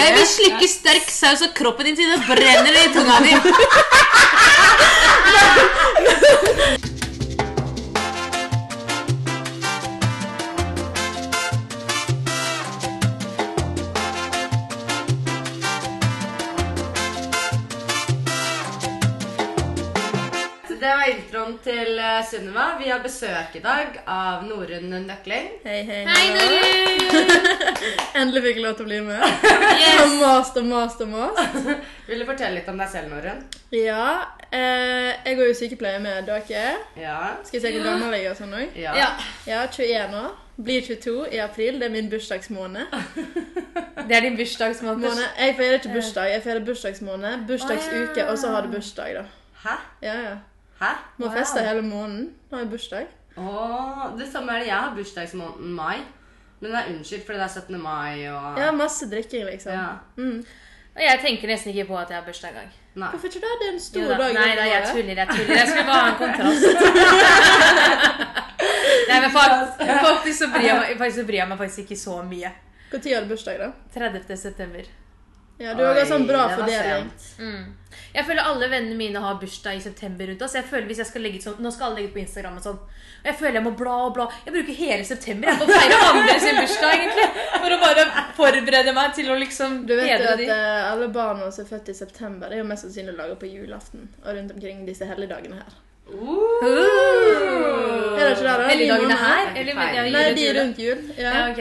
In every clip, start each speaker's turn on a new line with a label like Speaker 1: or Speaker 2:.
Speaker 1: Jeg vil slikke sterk saus av kroppen din til det brenner i tunga di.
Speaker 2: Så Det var introen til eh, Sunniva. Vi har besøk i dag av Norunn Nøkling.
Speaker 3: Hei, hei.
Speaker 1: Hei,
Speaker 3: hallo.
Speaker 1: Norun!
Speaker 3: Endelig fikk jeg lov til å bli med. Jeg har
Speaker 1: Yes.
Speaker 3: mast og mast og mast.
Speaker 2: Vil du fortelle litt om deg selv, Norunn?
Speaker 3: Ja, eh, jeg går jo sykepleier med dere.
Speaker 2: Ja.
Speaker 3: Skal jeg si hvor gammel jeg er og sånn òg?
Speaker 2: Ja.
Speaker 1: Ja,
Speaker 3: Ja, 21 år. Blir 22 i april. Det er min bursdagsmåned.
Speaker 2: Ah,
Speaker 1: Det er din bursdagsmåned.
Speaker 3: Måned. Jeg feirer ikke bursdag. Jeg feirer bursdagsmåned, bursdagsuke, og så har det bursdag, da.
Speaker 2: Hæ?
Speaker 3: Ja, ja.
Speaker 2: Hæ?
Speaker 3: Må feste hele måneden. Nå har jeg bursdag.
Speaker 2: Åh, det samme er det. Jeg har bursdagsmåneden mai. Men det er unnskyldt fordi det er 17. mai og
Speaker 3: Jeg har masse drikking, liksom.
Speaker 2: Ja.
Speaker 3: Mm.
Speaker 1: Og jeg tenker nesten ikke på at jeg har bursdag engang.
Speaker 2: Nei.
Speaker 3: Hvorfor ikke det? Det er en
Speaker 1: Jo
Speaker 3: stor
Speaker 1: da,
Speaker 3: dag.
Speaker 1: Nei
Speaker 3: i
Speaker 1: da, jeg
Speaker 3: året.
Speaker 1: tuller. Jeg tuller. Jeg skulle bare ha en kontrast. Nei, men fak- faktisk så bryr jeg meg, faktisk så bryr jeg meg faktisk ikke så mye.
Speaker 3: Hvor tid har du bursdag, da?
Speaker 1: 30. september.
Speaker 3: Ja, Du har
Speaker 2: Oi,
Speaker 3: også sånn bra
Speaker 2: det var
Speaker 3: fordeling.
Speaker 2: sent.
Speaker 1: Mm. Jeg føler alle vennene mine har bursdag i september rundt oss. Jeg føler hvis jeg skal legge ut sånn, Nå skal alle legge ut på Instagram og sånn. Og jeg føler jeg må bla og bla. Jeg bruker hele september jeg på å feire andre sin bursdag, egentlig. For å bare forberede meg til å liksom
Speaker 3: Du vet jo
Speaker 1: hedre
Speaker 3: at
Speaker 1: de.
Speaker 3: eh, alle barna som er født i september, det er jo mest sannsynlig laga på julaften og rundt omkring disse helligdagene her.
Speaker 2: Uh.
Speaker 3: Er det ikke det, da?
Speaker 1: Helligdagene
Speaker 3: Ni
Speaker 1: her?
Speaker 3: måneder?
Speaker 1: Eller mener jeg
Speaker 3: Nei, de
Speaker 1: jul-
Speaker 3: rundt jul. Ja,
Speaker 1: Ja, ok.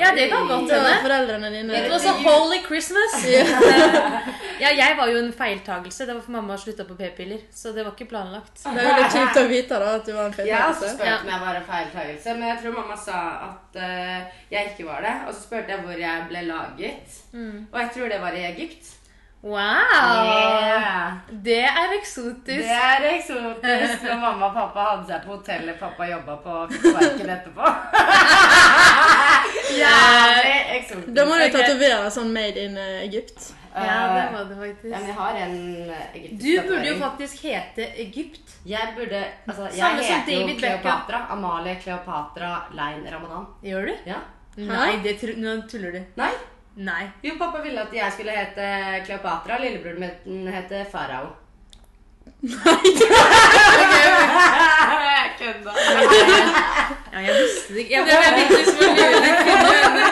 Speaker 1: ja, det kan godt
Speaker 3: Så
Speaker 1: hende.
Speaker 3: foreldrene dine
Speaker 1: It was a holy Christmas. ja, jeg var jo en feiltagelse. Det var for mamma slutta på p-piller. Så det var ikke planlagt.
Speaker 3: Det er jo litt kjipt å vite da, at du var en
Speaker 2: Jeg har også
Speaker 3: feiltakelse.
Speaker 2: spurt
Speaker 1: Ja.
Speaker 2: om jeg var en feiltagelse, men jeg tror mamma sa at eh, jeg ikke var det. Og så spurte jeg hvor jeg ble laget, og jeg tror det var i Egypt.
Speaker 1: Wow!
Speaker 2: Yeah.
Speaker 1: Det er eksotisk.
Speaker 2: Det er eksotisk når mamma og pappa hadde seg på hotellet pappa jobba på og fikk sparken etterpå. Jævlig eksotisk.
Speaker 3: Da må du
Speaker 1: Ok.
Speaker 3: tatovere sånn made in eh, Egypt.
Speaker 1: Ja, det
Speaker 2: Eh,
Speaker 1: var det
Speaker 2: ja, men
Speaker 1: faktisk.
Speaker 2: jeg har en egyptisk
Speaker 1: Du burde jo
Speaker 2: tatovering.
Speaker 1: faktisk hete Egypt.
Speaker 2: Jeg burde Altså, jeg
Speaker 1: Samme som
Speaker 2: heter jo
Speaker 1: David Beckham.
Speaker 2: Kleopatra. Amalie Kleopatra Lein Ramadan.
Speaker 1: Gjør du?
Speaker 2: Ja.
Speaker 1: Nei, det tru- nå tuller du.
Speaker 2: Nei.
Speaker 1: Nei.
Speaker 2: Jo, pappa ville at jeg skulle hete Kleopatra. Lillebroren min heter Farao. Jeg Kødda.
Speaker 1: Ja, jeg visste det ikke. Jeg ble jeg liksom ble ikke så mye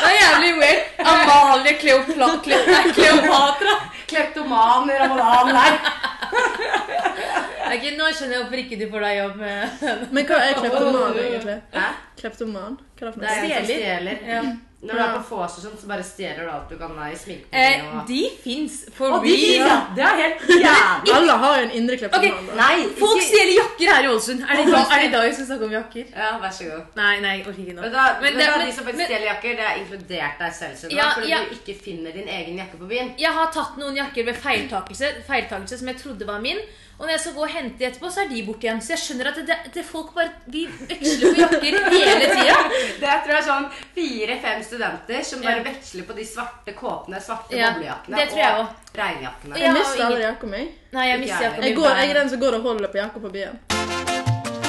Speaker 1: Det er jævlig weird. Amalie Kleopla, Kle, nei, Kleopatra.
Speaker 2: Kleptoman Ramadan. Nei.
Speaker 1: Ok, nå skjønner jeg hvorfor ikke du får deg jobb med
Speaker 3: Men hva er kleptoman, egentlig?
Speaker 2: Hæ?
Speaker 3: Kleptoman? Hva er det for
Speaker 2: Det er
Speaker 3: noe?
Speaker 2: en som
Speaker 1: Stjeler.
Speaker 2: stjeler.
Speaker 1: Ja.
Speaker 2: Når du er på vors og sånn, så bare stjeler du alt du kan ha i
Speaker 1: Eh,
Speaker 2: sminkepengene og
Speaker 1: de fins, for
Speaker 2: Å, de
Speaker 1: real.
Speaker 2: gir, ja. Det er helt jævlig.
Speaker 3: Alle har jo en indre kleptoman. da.
Speaker 2: Nei,
Speaker 1: Folk
Speaker 2: ikke-
Speaker 1: stjeler jakker her i Ålesund. Er det,
Speaker 2: Folk
Speaker 1: da,
Speaker 2: stjeler-
Speaker 1: er det da vi skal snakke om jakker?
Speaker 2: Ja, vær så god.
Speaker 1: Nei, nei, jeg orker ikke nå.
Speaker 2: Men da, men
Speaker 1: det-
Speaker 2: da,
Speaker 1: men-
Speaker 2: de som faktisk
Speaker 1: men-
Speaker 2: stjeler jakker, det er inkludert deg selv, Sunniva.
Speaker 1: Ja,
Speaker 2: fordi
Speaker 1: ja.
Speaker 2: du ikke finner din egen jakke på byen.
Speaker 1: Jeg har tatt noen jakker ved feiltakelse, feiltakelse som jeg trodde var min. Og når jeg skal gå og hente de etterpå, så er de borte igjen. Så jeg skjønner at det, det, det folk bare Vi veksler på jakker hele tida.
Speaker 2: Det jeg tror jeg er sånn fire-fem studenter som bare
Speaker 1: Ja.
Speaker 2: veksler på de svarte kåpene, svarte
Speaker 1: Ja,
Speaker 2: boblejakkene
Speaker 1: det tror jeg
Speaker 2: og
Speaker 1: også.
Speaker 2: regnjakkene.
Speaker 1: Og
Speaker 3: Jeg
Speaker 1: Ja,
Speaker 3: mister
Speaker 1: ingen-
Speaker 3: aldri jakka mi.
Speaker 1: Nei, jeg mister jakka
Speaker 3: Jeg, går- jeg er den som går og holder på jakka på byen.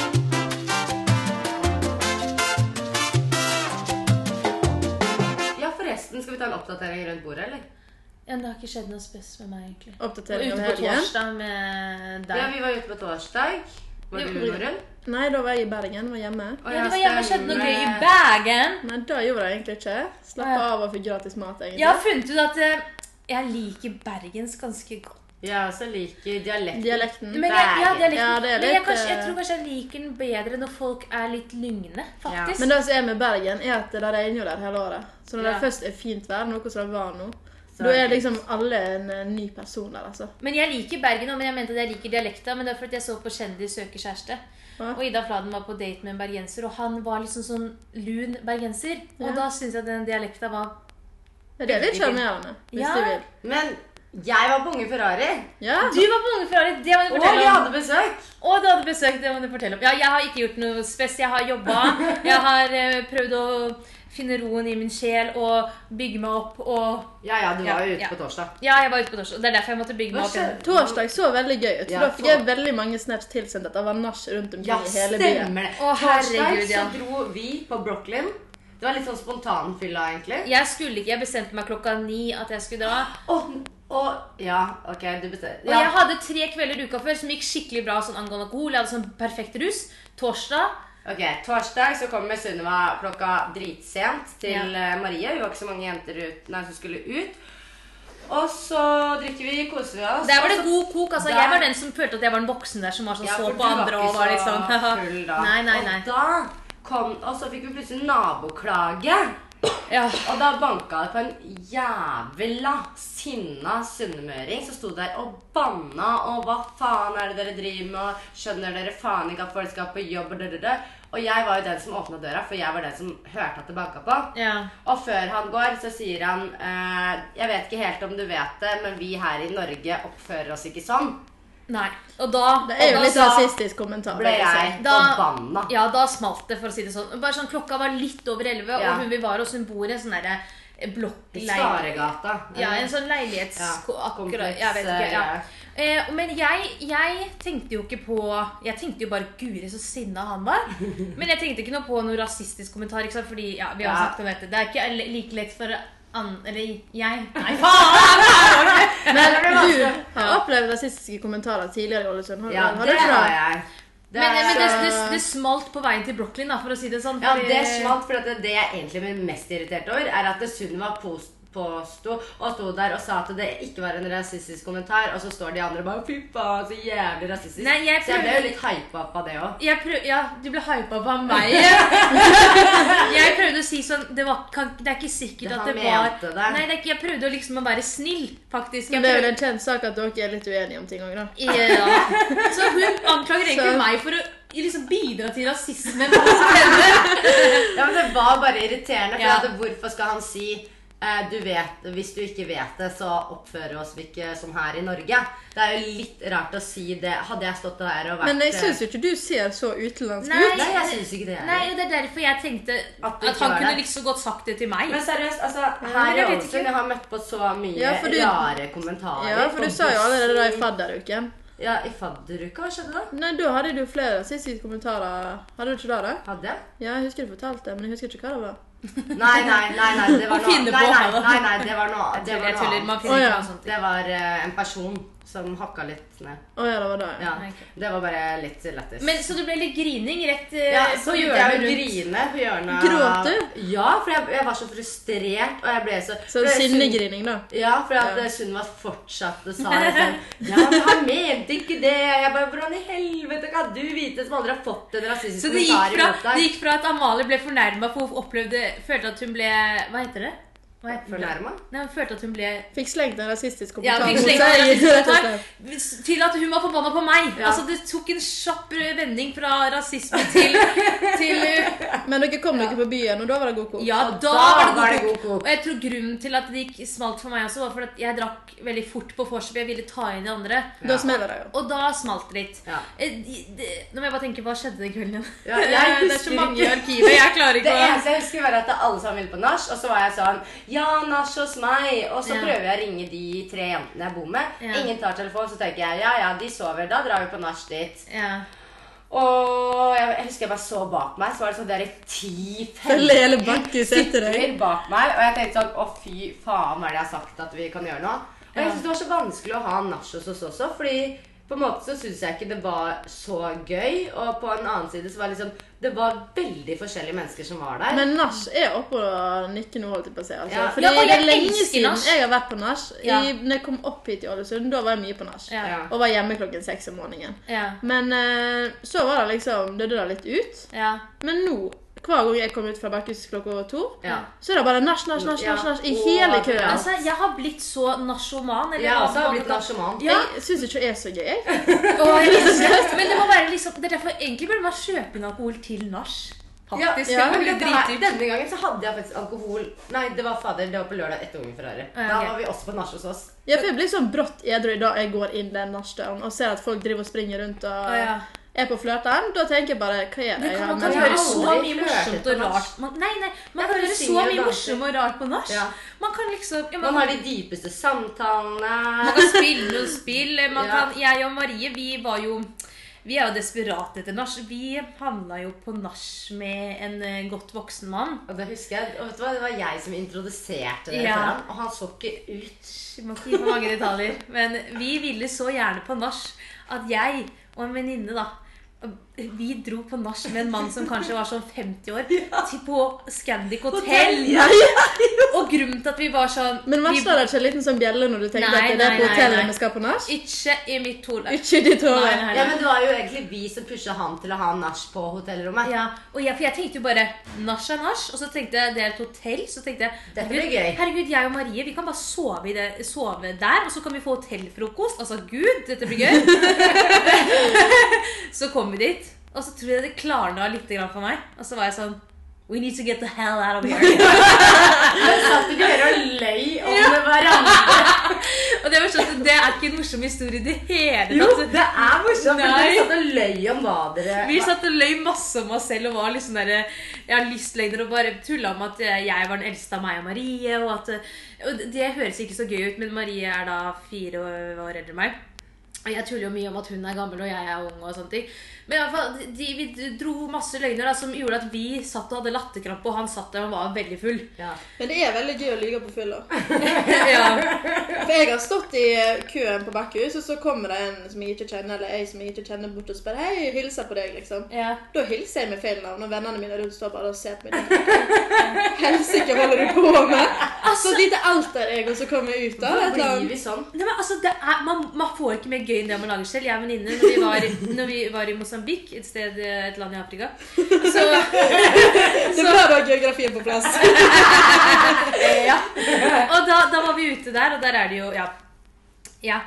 Speaker 2: Ja, forresten, skal vi ta en oppdatering rundt bordet, eller?
Speaker 1: Ja, det har ikke skjedd noe spes med meg, egentlig. Jeg
Speaker 3: Oppdatering
Speaker 1: var
Speaker 3: av
Speaker 1: ute på
Speaker 3: helgen.
Speaker 1: torsdag med
Speaker 2: Ja,
Speaker 1: deg.
Speaker 2: vi var ute på torsdag. Var
Speaker 1: Ja,
Speaker 2: du
Speaker 1: hvor-
Speaker 2: Norunn?
Speaker 3: Nei, da var jeg i Bergen, var hjemme.
Speaker 2: Og
Speaker 1: Ja,
Speaker 2: jeg
Speaker 1: det var hjemme skjedde noe
Speaker 2: stemmer.
Speaker 1: gøy i Bergen.
Speaker 3: Nei, da gjorde jeg egentlig ikke. Slappa av og fikk gratis mat, egentlig.
Speaker 1: Jeg har funnet ut at eh, jeg liker bergens ganske godt.
Speaker 2: Jeg også liker dialekt.
Speaker 3: Dialekten.
Speaker 1: Men jeg, ja,
Speaker 2: Bergen.
Speaker 1: dialekten.
Speaker 3: Ja, det er
Speaker 1: Men jeg,
Speaker 3: litt,
Speaker 1: kanskje, jeg
Speaker 3: eh,
Speaker 1: tror kanskje jeg liker den bedre når folk er litt lygne, faktisk.
Speaker 3: Men det som er med Bergen, er at det regner jo der hele året. Så når
Speaker 1: Ja.
Speaker 3: det først er fint vær, noe som det var nå,
Speaker 2: Så-
Speaker 3: da er liksom alle en eh, ny person der, altså.
Speaker 1: Men jeg liker Bergen, og men jeg mente at jeg liker dialekta. Men det er fordi jeg så på Kjendis søker kjæreste.
Speaker 3: Ja.
Speaker 1: Og Ida Fladen var på date med en bergenser, og han var liksom sånn lun bergenser. Og
Speaker 3: Ja.
Speaker 1: da syns jeg den dialekta var
Speaker 3: Ja, Det er litt sjarmerende, hvis
Speaker 1: Ja.
Speaker 3: de vil.
Speaker 2: Men jeg var på Unge Ferrari,
Speaker 3: Ja.
Speaker 1: Du var på Unge Ferrari, det må du
Speaker 2: og
Speaker 1: fortelle
Speaker 2: jeg hadde
Speaker 1: om.
Speaker 2: besøk.
Speaker 1: Og du hadde besøk, det må du fortelle om. Ja, jeg har ikke gjort noe spes. Jeg har jobba. Jeg har eh, prøvd å finne roen i min sjel og bygge meg opp og
Speaker 2: Ja, ja, du var jo
Speaker 1: Ja,
Speaker 2: ute
Speaker 1: ja.
Speaker 2: på torsdag.
Speaker 1: Ja, jeg var ute på norsk, og det er derfor jeg måtte bygge
Speaker 2: Hva
Speaker 1: meg opp. igjen.
Speaker 2: skjedde?
Speaker 3: Torsdag så veldig gøy ut.
Speaker 2: Ja,
Speaker 3: for Da fikk jeg veldig mange snaps tilsendt at det var nach rundt omkring
Speaker 2: Ja,
Speaker 3: i hele byen.
Speaker 2: stemmer det.
Speaker 1: Å, herregud,
Speaker 2: Torsdag
Speaker 1: ja.
Speaker 2: så dro vi på Brooklyn Det var litt sånn spontanfylla, egentlig.
Speaker 1: Jeg skulle ikke, jeg bestemte meg klokka ni at jeg skulle dra.
Speaker 2: Og, og Ja, ok, du bestemmer.
Speaker 1: Og jeg hadde tre kvelder uka før som gikk skikkelig bra sånn angående alkohol. Jeg hadde sånn perfekt rus. Torsdag
Speaker 2: Ok, Torsdag så kommer Sunniva klokka dritsent til eh, Marie. Vi var ikke så mange jenter ut, nei, som skulle ut. Og så drikker vi, koser vi oss.
Speaker 1: Der var
Speaker 2: og
Speaker 1: det
Speaker 2: så-
Speaker 1: god kok. altså
Speaker 2: Der-
Speaker 1: Jeg var den som følte at jeg var den voksen der som var sånn
Speaker 2: Ja,
Speaker 1: så
Speaker 2: for du
Speaker 1: på andre og var
Speaker 2: ikke så
Speaker 1: liksom
Speaker 2: full da.
Speaker 1: Nei, nei, nei.
Speaker 2: Og da kom Og så fikk vi plutselig naboklage.
Speaker 1: Ja.
Speaker 2: Og da banka det på en jævla sinna sunnmøring som sto der og banna og hva faen er det dere driver med, og skjønner dere faen ikke at folk skal på jobb og dødødø. Og jeg var jo den som åpna døra, for jeg var den som hørte at det banka på.
Speaker 1: ja.
Speaker 2: Og før han går, så sier han eh, Jeg vet ikke helt om du vet det, men vi her i Norge oppfører oss ikke sånn.
Speaker 1: Nei. Og da
Speaker 3: Det
Speaker 1: og
Speaker 3: er jo
Speaker 1: da
Speaker 3: litt
Speaker 1: sa-
Speaker 3: rasistisk kommentar.
Speaker 2: Ble
Speaker 3: vil
Speaker 2: jeg
Speaker 3: si.
Speaker 1: Da-
Speaker 2: forbanna.
Speaker 1: Ja, da smalt det, for å si det sånn. Bare sånn, Klokka var litt over elleve,
Speaker 2: Ja.
Speaker 1: og hun vi var hos, hun bor i en sånn derre
Speaker 2: I
Speaker 1: blokkleilighet.
Speaker 2: Staregata.
Speaker 1: Ja, en sånn leilighets...
Speaker 2: Ja,
Speaker 1: akkurat,
Speaker 2: kompleks,
Speaker 1: jeg vet ikke, ja.
Speaker 2: eh,
Speaker 1: Eh, men jeg, jeg tenkte jo ikke på Jeg tenkte jo bare 'guri, så sinna han var'. Men jeg tenkte ikke noe på noen rasistisk kommentar. Ikke sant? Fordi ja, vi har jo
Speaker 2: Ja.
Speaker 1: snakket om dette. Det er ikke le- like lett for an... Eller jeg. Nei, faen!
Speaker 3: Men
Speaker 2: det ble
Speaker 3: du
Speaker 2: vanskelig.
Speaker 3: har opplevd rasistiske kommentarer tidligere i Ålesund. Har du,
Speaker 2: Ja,
Speaker 3: har du
Speaker 2: det
Speaker 3: ikke
Speaker 2: har
Speaker 3: det?
Speaker 2: jeg. Det
Speaker 1: Men,
Speaker 2: har jeg.
Speaker 1: men det, det, det smalt på veien til Brooklyn, da, for å si det sånn.
Speaker 2: Ja,
Speaker 1: fordi-
Speaker 2: det smalt, for det, det jeg egentlig blir mest irritert over, er at Sunniva pos- påsto og sto der og sa at det ikke var en rasistisk kommentar, og så står de andre bare Fy faen, så jævlig rasistisk.
Speaker 1: Nei, jeg
Speaker 2: så jeg ble jo
Speaker 1: prøver-
Speaker 2: litt hypa opp av det òg.
Speaker 1: jeg prøv, ja, du ble hypa på meg. Jeg prøvde å si sånn Det, var, kan, det er ikke sikkert
Speaker 2: Han
Speaker 1: at det var
Speaker 2: mente det.
Speaker 1: Nei, det er ikke, Jeg prøvde å liksom å være snill, faktisk. Jeg
Speaker 3: Men det er vel
Speaker 1: prøvde-
Speaker 3: en kjent sak at dere er litt uenige om ting òg, da.
Speaker 1: eh, Ja. Så hun anklager egentlig
Speaker 3: Så-
Speaker 1: meg for å liksom bidra til rasisme. mot henne.
Speaker 2: Ja, men det var bare irriterende, for
Speaker 1: Ja.
Speaker 2: at hvorfor skal han si eh, du vet, Hvis du ikke vet det, så oppfører oss vi ikke som her i Norge. Det er jo litt rart å si det. Hadde jeg stått der og vært eh,
Speaker 3: Men jeg syns jo ikke du ser så utenlandsk
Speaker 1: eh, Nei.
Speaker 3: ut.
Speaker 2: Nei, jeg syns ikke det.
Speaker 1: Nei, og Det er derfor jeg tenkte
Speaker 2: At
Speaker 1: at,
Speaker 2: det ikke
Speaker 1: han
Speaker 2: var
Speaker 1: kunne
Speaker 2: det.
Speaker 1: liksom godt sagt det til meg.
Speaker 2: Men seriøst, altså,
Speaker 1: men
Speaker 2: her i
Speaker 1: jeg vet
Speaker 2: Ålesund
Speaker 1: ikke.
Speaker 2: jeg har møtt på så mye
Speaker 3: Ja, for du-
Speaker 2: rare kommentarer.
Speaker 3: Ja, for
Speaker 2: på
Speaker 3: du sa jo allerede da i
Speaker 2: bussen.
Speaker 3: fadderuken.
Speaker 2: Ja, i fadderuka, hva skjedde da?
Speaker 3: Nei, da hadde du flere rasistiske kommentarer. Hadde du ikke det, da?
Speaker 2: Hadde jeg?
Speaker 3: Ja, jeg husker du fortalte det, men jeg husker ikke hva det var.
Speaker 2: Nei, nei, nei, nei, det var
Speaker 1: Å
Speaker 2: noe
Speaker 1: finne
Speaker 2: Nei,
Speaker 1: på,
Speaker 2: nei,
Speaker 1: da.
Speaker 2: nei, nei det var noe
Speaker 1: Jeg
Speaker 2: Det
Speaker 1: tuller,
Speaker 2: var,
Speaker 1: jeg
Speaker 2: noe
Speaker 1: tuller. Man
Speaker 2: annet.
Speaker 1: finner
Speaker 3: Å,
Speaker 1: ikke
Speaker 3: ja.
Speaker 1: noe sånt.
Speaker 2: det var eh, en person som hakka litt ned.
Speaker 3: Å ja, det var det. Ja.
Speaker 2: Ja,
Speaker 1: Ok.
Speaker 2: Det var bare litt lættis.
Speaker 1: Men Så det ble litt grining rett eh,
Speaker 2: ja, så
Speaker 1: på
Speaker 2: begynte jeg
Speaker 1: hjørnet
Speaker 2: å
Speaker 1: rundt?
Speaker 2: grine på hjørnet.
Speaker 3: Gråt
Speaker 2: du? Ja, for jeg, jeg var så frustrert, og jeg ble så
Speaker 3: Så
Speaker 2: for jeg syns-
Speaker 3: sinnegrining, da.
Speaker 2: Ja, for at
Speaker 3: Ja.
Speaker 2: eh, Sunniva fortsatte sa liksom Ja, men han mente ikke det. Jeg bare Hvordan i helvete kan du vite som aldri har fått en rasistisk
Speaker 1: Så det gikk,
Speaker 2: kommentar
Speaker 1: fra,
Speaker 2: imot deg?
Speaker 1: det gikk fra at Amalie ble fornærma for hun opplevde, følte at hun ble Hva heter det? Hva heter det?
Speaker 2: Fornærma?
Speaker 1: Nei, hun følte at hun ble
Speaker 3: Fikk slengt en rasistisk
Speaker 1: ja,
Speaker 3: kommentar
Speaker 1: fikk
Speaker 3: mot
Speaker 1: slengt
Speaker 3: seg,
Speaker 1: en rasistisk
Speaker 3: rett og
Speaker 1: kommentar.
Speaker 3: slett.
Speaker 1: Hvis- Til at hun var forbanna på meg.
Speaker 2: Ja.
Speaker 1: Altså, Det tok en kjapp eh, vending fra rasisme til, til eh,
Speaker 3: Men dere kom dere på byen, og da var det god kok.
Speaker 1: Ja,
Speaker 2: Og
Speaker 1: da,
Speaker 2: da
Speaker 1: var det god
Speaker 2: god kok.
Speaker 1: kok. Og jeg tror grunnen til at det gikk smalt for meg også, var fordi at jeg drakk veldig fort på vorset. Jeg ville ta inn de andre.
Speaker 3: Da smeller det jo.
Speaker 1: Og da smalt det litt.
Speaker 2: Ja.
Speaker 1: Eh, de- de- Nå må jeg bare tenke hva skjedde den kvelden igjen.
Speaker 2: Ja, jeg
Speaker 1: Eh, det er
Speaker 2: husker
Speaker 1: så mange i
Speaker 2: ikke.
Speaker 1: arkivet. Jeg klarer
Speaker 2: Det
Speaker 1: ikke å
Speaker 2: eneste jeg husker, var at alle sammen ville på nach, og så var jeg sånn Ja, nach hos meg. Og så
Speaker 1: Ja.
Speaker 2: prøver jeg å ringe de tre jentene jeg bor med.
Speaker 1: Ja.
Speaker 2: Ingen tar telefonen, så tenker jeg ja, ja, de sover. Da drar vi på nach dit.
Speaker 1: ja.
Speaker 2: Og jeg, jeg husker jeg bare så bak meg, så var det sånn der ti-fem
Speaker 3: Følger hele Bakkus etter deg.
Speaker 2: stykker bak meg, og jeg tenkte sånn Å, fy faen, hva er det jeg har sagt at vi kan gjøre nå? Og jeg
Speaker 1: Ja.
Speaker 2: syns det var så vanskelig å ha nach hos oss også, fordi på en måte så syns jeg ikke det var så gøy. Og på en annen side så var det liksom Det var veldig forskjellige mennesker som var der.
Speaker 3: Men nach er oppå nikke nå, holdt jeg på å si. Altså.
Speaker 2: Ja.
Speaker 3: Fordi
Speaker 1: Ja, og
Speaker 3: det
Speaker 1: jeg
Speaker 3: er lenge
Speaker 1: elsker
Speaker 3: siden
Speaker 1: nach.
Speaker 3: jeg har vært på nach.
Speaker 1: Ja.
Speaker 3: I- Når jeg kom opp hit i Ålesund, da var jeg mye på nach.
Speaker 1: Ja.
Speaker 2: Ja.
Speaker 3: Og var hjemme klokken seks om morgenen.
Speaker 1: Ja.
Speaker 3: Men eh, så var det liksom Døde det litt ut.
Speaker 1: ja.
Speaker 3: Men nå, hver gang jeg kommer ut fra Berkhus klokka to,
Speaker 2: Ja.
Speaker 3: så er det bare nach, nach, nach,
Speaker 2: Ja.
Speaker 3: nach, nach i
Speaker 2: Åh,
Speaker 3: hele
Speaker 2: ja.
Speaker 3: køen.
Speaker 1: Altså, jeg har blitt så nasjoman. eller
Speaker 2: Jeg har
Speaker 1: hva
Speaker 2: også
Speaker 1: man
Speaker 2: blitt
Speaker 1: kan-
Speaker 2: nasjoman.
Speaker 1: Ja.
Speaker 3: Jeg syns ikke det er så gøy. jeg.
Speaker 1: Åh, jeg elsker det. Men det må være liksom Det er derfor egentlig burde man kjøpe inn alkohol til nach. Faktisk.
Speaker 2: ja,
Speaker 1: det
Speaker 2: men
Speaker 1: blir
Speaker 2: dette her,
Speaker 1: dritdyrt.
Speaker 2: denne gangen så hadde jeg faktisk alkohol Nei, det var fader, det var på lørdag etter Unge Ferrari.
Speaker 1: Ja,
Speaker 2: Da
Speaker 1: ok.
Speaker 2: var vi også på nach hos oss.
Speaker 3: Ja, for jeg blir sånn brått edru i dag jeg går inn den nachdøren og ser at folk driver og springer rundt og
Speaker 1: Å, ja.
Speaker 3: er på flørten. Da tenker jeg bare Hva er det
Speaker 1: Men
Speaker 3: jeg
Speaker 1: kan,
Speaker 3: har
Speaker 1: man kan
Speaker 2: jeg har
Speaker 3: med
Speaker 1: gjøre så
Speaker 2: aldri
Speaker 1: mye
Speaker 2: flørtet
Speaker 1: morsomt
Speaker 2: på
Speaker 1: og
Speaker 2: nach.
Speaker 1: rart man, Nei, nei, man
Speaker 2: for
Speaker 1: kan
Speaker 2: du
Speaker 1: gjøre så
Speaker 2: synger og
Speaker 1: mye
Speaker 2: danser.
Speaker 1: morsomt og rart på nach.
Speaker 2: Ja.
Speaker 1: Man kan liksom ja, man,
Speaker 2: Man har de dypeste samtalene.
Speaker 1: man kan spille noen spill. Man
Speaker 2: Ja.
Speaker 1: kan, jeg og Marie, vi var jo Vi er jo desperate etter nach. Vi handla jo på nach med en eh, godt voksen mann.
Speaker 2: Og det husker jeg. Og vet du hva, det var jeg som introduserte dere
Speaker 1: Ja.
Speaker 2: for ham. Og han så ikke ut.
Speaker 1: Vi må ikke gi for mange detaljer. Men vi ville så gjerne på nach at jeg og en venninne da, vi dro på nach med en mann som kanskje var sånn 50 år, til på Scandic hotell. Og grunnen til at vi var sånn
Speaker 3: Men
Speaker 1: vi-
Speaker 3: varsler det ikke en liten sånn bjelle når du tenker
Speaker 1: Nei,
Speaker 3: at det er
Speaker 1: nei,
Speaker 3: på
Speaker 1: nei,
Speaker 3: hotellet
Speaker 1: nei.
Speaker 3: vi skal på nach?
Speaker 1: Ikke i mitt hode.
Speaker 3: Ikke ditt hår.
Speaker 1: Nei, nei,
Speaker 2: Ja, men det var jo egentlig vi som pusha han til å ha nach på hotellrommet.
Speaker 1: Ja, og jeg, for jeg tenkte jo bare nach er nach, og så tenkte jeg det er et hotell. Så tenkte jeg
Speaker 2: Dette blir
Speaker 1: herregud,
Speaker 2: gøy.
Speaker 1: herregud, jeg og Marie vi kan bare sove, i det, sove der, og så kan vi få hotellfrokost. Altså gud, dette blir gøy. så kom vi dit, og så tror jeg det klarna litt grann for meg. Og så var jeg sånn We need to get the hell out of here.
Speaker 2: Men satt ikke dere og løy om hverandre?
Speaker 1: og det var sånn at det er ikke en morsom historie i det hele
Speaker 2: Jo,
Speaker 1: tatt.
Speaker 2: Altså, det er morsomt. men
Speaker 1: Nei.
Speaker 2: Dere satt og løy om hva dere
Speaker 1: Vi satt og løy masse om oss selv og var liksom der, ja, lystløgner og bare tulla om at eh, jeg var den eldste av meg og Marie. Og at, eh, og det høres ikke så gøy ut, men Marie er da fire år eldre enn meg. Og jeg tuller jo mye om at hun er gammel og jeg er ung. og sånne ting. Men i alle fall, de, vi dro masse løgner da, som gjorde at vi satt og hadde latterkrampe, og han satt der og var veldig full.
Speaker 2: Ja.
Speaker 3: Men det er veldig gøy å lyve på fylla.
Speaker 1: ja.
Speaker 3: For jeg har stått i køen på Bekkhus, og så kommer det en som jeg ikke kjenner, eller jeg som jeg ikke kjenner, bort og spør hei, hilser på deg, liksom.
Speaker 1: Ja.
Speaker 3: Da hilser jeg med feil navn, og vennene mine rundt står bare og ser på meg. Helsike, hva holder du på med? Så et lite alter jeg, og så kommer jeg ut av
Speaker 2: Hvorfor
Speaker 3: et eller
Speaker 2: blir
Speaker 3: annet.
Speaker 2: vi sånn?
Speaker 1: Altså, Nei, men altså, det er, man, man får ikke mer gøy enn det man lager selv. Jeg og venninne, når, vi var- når vi var i Mosambik, et sted, et land i Afrika Så,
Speaker 3: Det er bra du har geografien på plass.
Speaker 1: Og da, da var vi ute der, og der er det jo Ja. ja.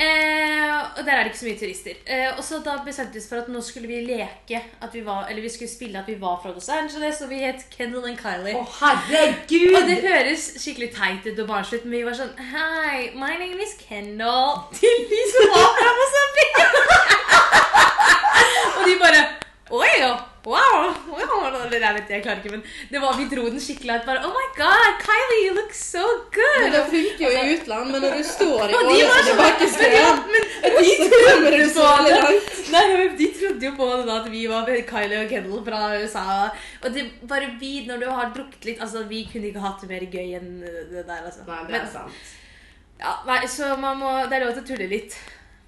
Speaker 1: Eh, og der er det ikke så mye turister. Eh, og så da bestemte vi oss for at nå skulle vi leke at vi var, Eller vi skulle spille at vi var fra Los Angeles, og vi het Kendal and Kylie.
Speaker 2: Å, herregud!
Speaker 1: Og det høres skikkelig teit ut og barnslig ut, men vi var sånn Hei, my name is Kendall. Til de som var fra Mosambik. og de bare Oi, ja. Wow! wow. Eller jeg vet ikke, jeg klarer ikke, men det var, vi dro den skikkelig ut. Bare Oh my God, Kylie, you look so
Speaker 3: Men
Speaker 1: good!
Speaker 3: det funker jo i utland, men når du står i
Speaker 1: Og de var sånn
Speaker 3: årets
Speaker 1: Men, ja,
Speaker 3: tilbakeskred,
Speaker 1: men
Speaker 3: så kommer du så veldig langt.
Speaker 1: Nei, men De trodde jo på det da, at vi var Kylie og Kendall fra USA. Og det bare vi, når du har drukket litt Altså, Vi kunne ikke hatt det mer gøy enn det der. altså.
Speaker 2: Nei, det
Speaker 1: Men-
Speaker 2: er sant.
Speaker 1: Ja, nei, så man må, det er lov til å tulle litt.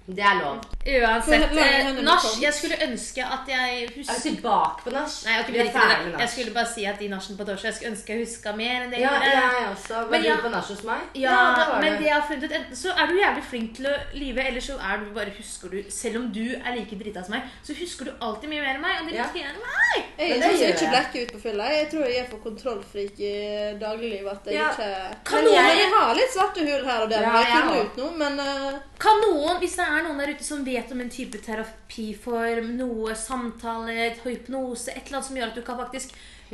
Speaker 2: Det er lov.
Speaker 1: Uansett.
Speaker 3: Hvor langt
Speaker 1: Eh,
Speaker 3: har dere
Speaker 1: nach,
Speaker 3: kommet?
Speaker 1: jeg skulle ønske at jeg
Speaker 2: Er vi
Speaker 1: husker
Speaker 2: tilbake på nach?
Speaker 1: Nei, jeg,
Speaker 2: Vi er ferdig med
Speaker 1: jeg
Speaker 2: nach.
Speaker 1: skulle bare si at i nachen på torsdag Jeg skulle ønske jeg huska mer enn det jeg
Speaker 2: Ja,
Speaker 1: gjorde.
Speaker 2: jeg også. Var
Speaker 1: Men
Speaker 2: du
Speaker 1: ja.
Speaker 2: på nach hos meg?
Speaker 1: Ja,
Speaker 2: det var
Speaker 1: men
Speaker 2: du.
Speaker 1: det jeg har funnet ut Enten så er du jævlig flink til å lyve, eller så er du bare husker du Selv om du er like drita som meg, så husker du alltid mye mer enn meg. Og det
Speaker 2: Ja.
Speaker 1: liker jeg meg.
Speaker 3: Jeg
Speaker 2: Men
Speaker 3: er
Speaker 2: det
Speaker 3: sånn som
Speaker 2: gjør
Speaker 3: ikke
Speaker 2: jeg.
Speaker 3: blekker ut på fylla. Jeg tror jeg er for kontrollfrik i dagliglivet. At jeg
Speaker 2: Ja.
Speaker 3: ikke
Speaker 1: Kan
Speaker 3: Men noen
Speaker 1: jeg-
Speaker 3: jeg... har litt svarte hull her og der.
Speaker 2: Ja,
Speaker 3: men jeg
Speaker 2: jeg
Speaker 3: finner
Speaker 2: har.
Speaker 3: ut noe, men eh,
Speaker 1: Kan noen, Hvis det er noen der ute som vet om en type terapiform, noe samtale, hypnose, et eller annet som gjør at du kan faktisk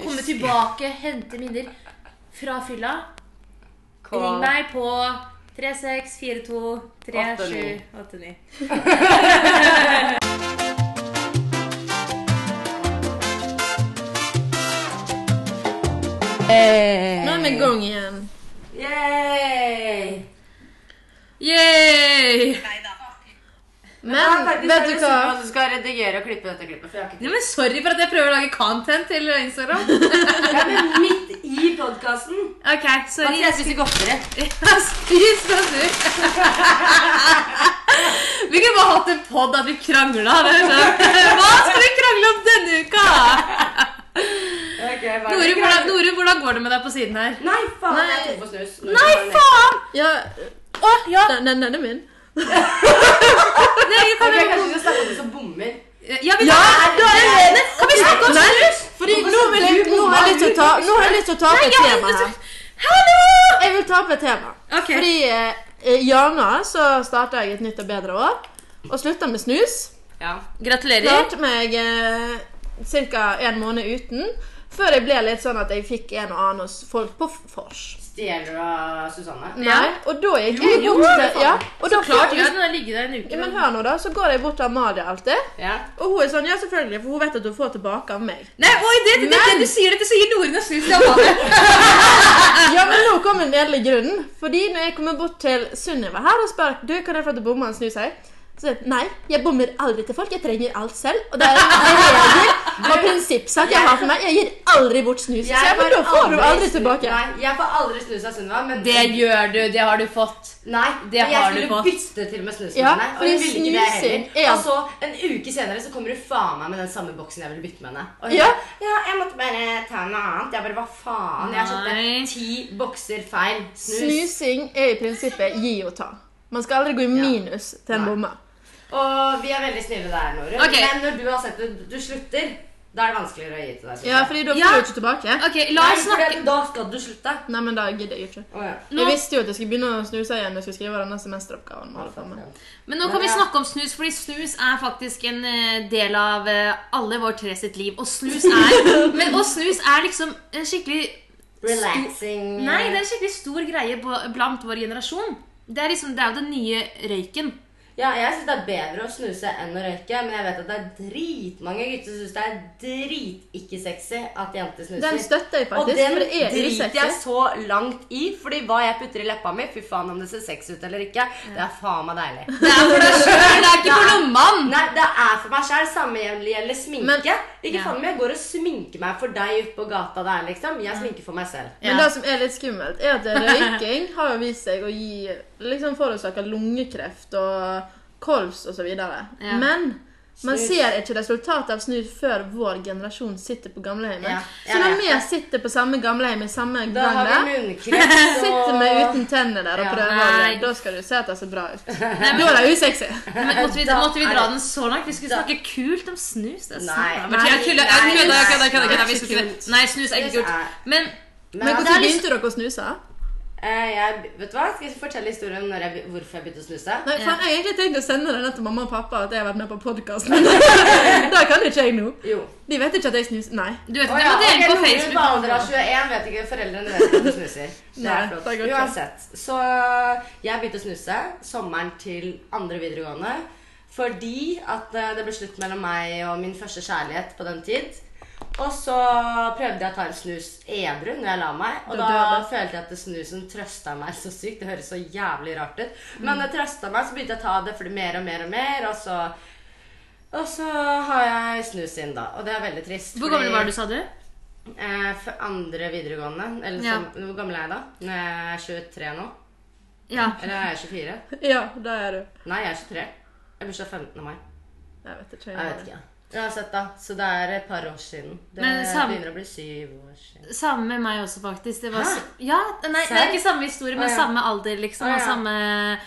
Speaker 1: komme tilbake, hente minner fra fylla,
Speaker 2: Kål.
Speaker 1: Ring meg på 36423789.
Speaker 3: nå er vi i gang igjen.
Speaker 2: Yay!
Speaker 1: Yay!
Speaker 3: Men vet du hva?
Speaker 2: Du skal redigere og klippe dette klippet. For jeg har ikke
Speaker 1: Nei, men sorry for at jeg prøver å lage content til Instagram.
Speaker 2: Ja, men midt i podkasten!
Speaker 1: Ok, sorry.
Speaker 2: Jeg spiser godteri.
Speaker 1: Spis deg sur. Vi kunne bare hatt en pod at vi krangla. det er sånn. Hva skal vi krangle om denne uka?
Speaker 2: Okay, hva er
Speaker 1: Nore,
Speaker 2: det?
Speaker 1: hvordan, Nore, hvordan går det med deg på siden her?
Speaker 2: Nei, faen!
Speaker 3: Nei.
Speaker 2: Jeg tok på snus. Nå skal
Speaker 1: Nei,
Speaker 2: jeg ned.
Speaker 1: faen!
Speaker 3: Ja,
Speaker 1: Å, ja.
Speaker 3: den, den, den er min.
Speaker 1: Nei, vi
Speaker 2: Ok,
Speaker 1: kan, Eh,
Speaker 2: Kanskje vi skal snakke om det som bommer.
Speaker 1: ja, vi
Speaker 3: Ja,
Speaker 1: kan,
Speaker 3: du er enig.
Speaker 1: kan vi snakke om snus?
Speaker 3: Fordi
Speaker 2: Hvorfor
Speaker 3: nå, vil,
Speaker 2: skal
Speaker 3: jeg-
Speaker 2: du
Speaker 3: nå har jeg lyst til å ta, nå har jeg lyst til å ta opp
Speaker 1: Nei,
Speaker 3: et
Speaker 1: jeg
Speaker 3: tema
Speaker 1: vil-
Speaker 3: her.
Speaker 1: Hallo!
Speaker 3: Jeg vil ta opp et tema.
Speaker 1: Ok.
Speaker 3: Fordi eh, i januar så starta jeg et nytt og bedre år. Og slutta med snus.
Speaker 2: Ja.
Speaker 1: Gratulerer.
Speaker 3: Klarte meg eh, ca. en måned uten. Før jeg ble litt sånn at jeg fikk en og annen hos folk på vors.
Speaker 2: Stjeler du av Susanne?
Speaker 1: Ja.
Speaker 3: Nei, Og da gikk
Speaker 2: Jo,
Speaker 3: jeg
Speaker 2: jo,
Speaker 3: bort
Speaker 2: for
Speaker 3: til
Speaker 2: faen.
Speaker 3: ja, og da
Speaker 1: Klart
Speaker 3: ja,
Speaker 1: gjør den der ligge der en uke.
Speaker 3: men hør nå da, Så går jeg bort til Amalie alltid.
Speaker 2: Ja.
Speaker 3: Og hun er sånn, ja selvfølgelig, for hun vet at hun får tilbake av meg.
Speaker 1: Nei, oi, det, det, det,
Speaker 3: Men-
Speaker 1: du sier dette, så gir Noren og snus til Amalie.
Speaker 3: Ja, men nå kommer den edle grunnen. Fordi når jeg kommer bort til Sunniva her og spør du, kan jeg få lov til å bomme en snus her, Så, nei, jeg bommer aldri til folk. Jeg trenger alt selv. Og det er en regel og prinsippsak jeg har for meg. Jeg gir aldri bort snus. Så jeg får, får du aldri tilbake.
Speaker 2: Nei, jeg får aldri snus av Sunniva, men
Speaker 1: Det gjør du. Det har du fått.
Speaker 2: Nei,
Speaker 1: Det
Speaker 2: men jeg
Speaker 1: har du
Speaker 2: skulle
Speaker 1: fått.
Speaker 2: bytte til med snusen
Speaker 3: Ja,
Speaker 2: med henne. Og
Speaker 3: fordi
Speaker 2: hun ville ikke det
Speaker 3: snus er-
Speaker 2: heller.
Speaker 3: ja.
Speaker 2: Og så en uke senere så kommer du faen meg med den samme boksen jeg ville bytte med henne. Og hun
Speaker 3: Ja.
Speaker 2: bare, ja, jeg måtte bare ta noe annet. Jeg bare hva faen? Jeg
Speaker 1: Nei.
Speaker 2: kjøpte ti bokser feil. Snus.
Speaker 3: Snusing er i prinsippet gi og ta. Man skal aldri gå i minus til en
Speaker 2: Nei.
Speaker 3: bommer.
Speaker 2: Og vi er veldig snille der, Norun.
Speaker 1: Ok.
Speaker 2: Men når du har sett det, du slutter. Da er det vanskeligere å gi til deg.
Speaker 3: Ja, fordi da får
Speaker 1: Ja.
Speaker 3: du ikke tilbake.
Speaker 1: Ok, la oss
Speaker 2: Nei, for
Speaker 1: snakke
Speaker 2: det- Da skal du slutte.
Speaker 3: Nei, men da gidder jeg ikke.
Speaker 2: Å, ja.
Speaker 1: Nå-
Speaker 3: Jeg visste jo at jeg skulle begynne å snuse igjen når jeg skulle skrive denne semesteroppgaven. vi holder på med.
Speaker 1: Men nå kan vi snakke om snus, fordi snus er faktisk en eh, del av eh, alle vår tre sitt liv. Og snus er, men, og snus er liksom en skikkelig
Speaker 2: Relaxing. eh.
Speaker 1: Nei, det er en skikkelig stor greie på, blant vår generasjon. Det er liksom, det er jo den nye røyken.
Speaker 2: Ja, jeg syns det er bedre å snuse enn å røyke, men jeg vet at det er dritmange gutter som syns det er drit-ikke-sexy at jenter snuser.
Speaker 3: Den støtter jeg
Speaker 2: og
Speaker 3: faktisk,
Speaker 2: den
Speaker 3: for det er
Speaker 2: driter jeg
Speaker 3: usexy.
Speaker 2: så langt i, fordi hva jeg putter i leppa mi, fy faen om det ser sexy ut eller ikke, det er faen meg deilig.
Speaker 1: Det er for deg sjøl, det er ikke for noen mann!
Speaker 2: Nei, det er for meg sjæl. Samme gjelder sminke.
Speaker 3: Men-
Speaker 2: ikke
Speaker 1: Ja.
Speaker 2: faen meg, jeg går og sminker meg for deg ute på gata der, liksom. Jeg sminker for meg selv.
Speaker 1: Ja.
Speaker 3: Men det som er litt skummelt, er at røyking har jo vist seg å gi liksom forårsake lungekreft og kols osv. videre.
Speaker 1: Ja.
Speaker 3: Men man
Speaker 2: Snus.
Speaker 3: ser ikke resultatet av snus før vår generasjon sitter på gamleheimen.
Speaker 2: Ja, jeg
Speaker 3: Så når
Speaker 2: vet
Speaker 3: vi sitter på samme gamleheim i samme
Speaker 2: Da
Speaker 3: gang
Speaker 2: har
Speaker 3: der,
Speaker 2: vi munnkreft
Speaker 3: sitter vi uten tenner der og
Speaker 2: Ja,
Speaker 3: prøver,
Speaker 1: nei.
Speaker 3: og da skal du se at det ser bra ut. Da er det usexy.
Speaker 1: Men måtte vi,
Speaker 2: Da
Speaker 1: måtte vi
Speaker 2: er
Speaker 1: dra
Speaker 2: det-
Speaker 1: den så langt? Vi skulle
Speaker 2: Da-
Speaker 1: snakke kult om snus. Det er så
Speaker 2: Nei,
Speaker 1: bra.
Speaker 2: nei,
Speaker 1: jeg kødder, jeg
Speaker 2: nei,
Speaker 1: kødder, jeg kødder, jeg kødder,
Speaker 2: nei,
Speaker 1: jeg kødder. Vi
Speaker 2: det er
Speaker 1: skulle
Speaker 2: ikke
Speaker 1: ikke Nei, snus er ikke
Speaker 2: Snus
Speaker 1: kult.
Speaker 2: er-
Speaker 1: Men det
Speaker 3: Men
Speaker 1: er
Speaker 3: når
Speaker 1: litt-
Speaker 3: begynte dere å snuse?
Speaker 2: Eh, jeg, vet du hva? Skal jeg fortelle historien om når jeg, be- hvorfor jeg begynte å snuse?
Speaker 3: Nei, faen, Jeg har egentlig tenkt å sende denne til mamma og pappa at jeg har vært med på podkast, men det kan ikke jeg nå.
Speaker 2: Jo.
Speaker 3: De vet ikke at jeg snuser. Nei.
Speaker 1: du vet
Speaker 2: Å
Speaker 1: at du
Speaker 2: ja,
Speaker 1: må
Speaker 2: ok,
Speaker 1: dele på
Speaker 2: noen behandler av
Speaker 1: Facebook.
Speaker 2: 21 vet ikke foreldrene vet at du snuser. Det
Speaker 3: Nei,
Speaker 2: er flott.
Speaker 3: det går ikke.
Speaker 2: Uansett. Så jeg begynte å snuse sommeren til andre videregående fordi at eh, det ble slutt mellom meg og min første kjærlighet på den tid. Og så prøvde jeg å ta en snus edru når jeg la meg. Og
Speaker 3: Da
Speaker 2: da
Speaker 3: dør
Speaker 2: følte jeg at snusen trøsta meg så sykt. Det høres så jævlig rart ut.
Speaker 1: Mm.
Speaker 2: Men det trøsta meg, så begynte jeg å ta det for mer og mer og mer. Og så, og så har jeg snus inn, da. Og det er veldig trist.
Speaker 1: Hvor gammel
Speaker 2: fordi-
Speaker 1: var du, sa du?
Speaker 2: Eh, for andre videregående. Eller
Speaker 1: Ja.
Speaker 2: som, Hvor gammel er jeg da? Når jeg er 23 nå?
Speaker 1: Ja.
Speaker 2: Eller er jeg 24?
Speaker 3: Ja, det er du.
Speaker 2: Nei, jeg er 23. Jeg har bursdag 15. mai.
Speaker 3: Jeg vet ikke.
Speaker 2: Jeg vet ikke. Uansett, da. Så det er et par år siden. Det
Speaker 1: Men sam-
Speaker 2: begynner å bli syv år siden.
Speaker 1: Samme med meg også, faktisk. Det var
Speaker 2: Hæ?
Speaker 1: s- ja, nei, det er
Speaker 2: Serr?
Speaker 1: ikke samme historie, men
Speaker 2: Å, ja.
Speaker 1: samme alder, liksom.
Speaker 2: Å,
Speaker 1: Og
Speaker 2: ja.
Speaker 1: samme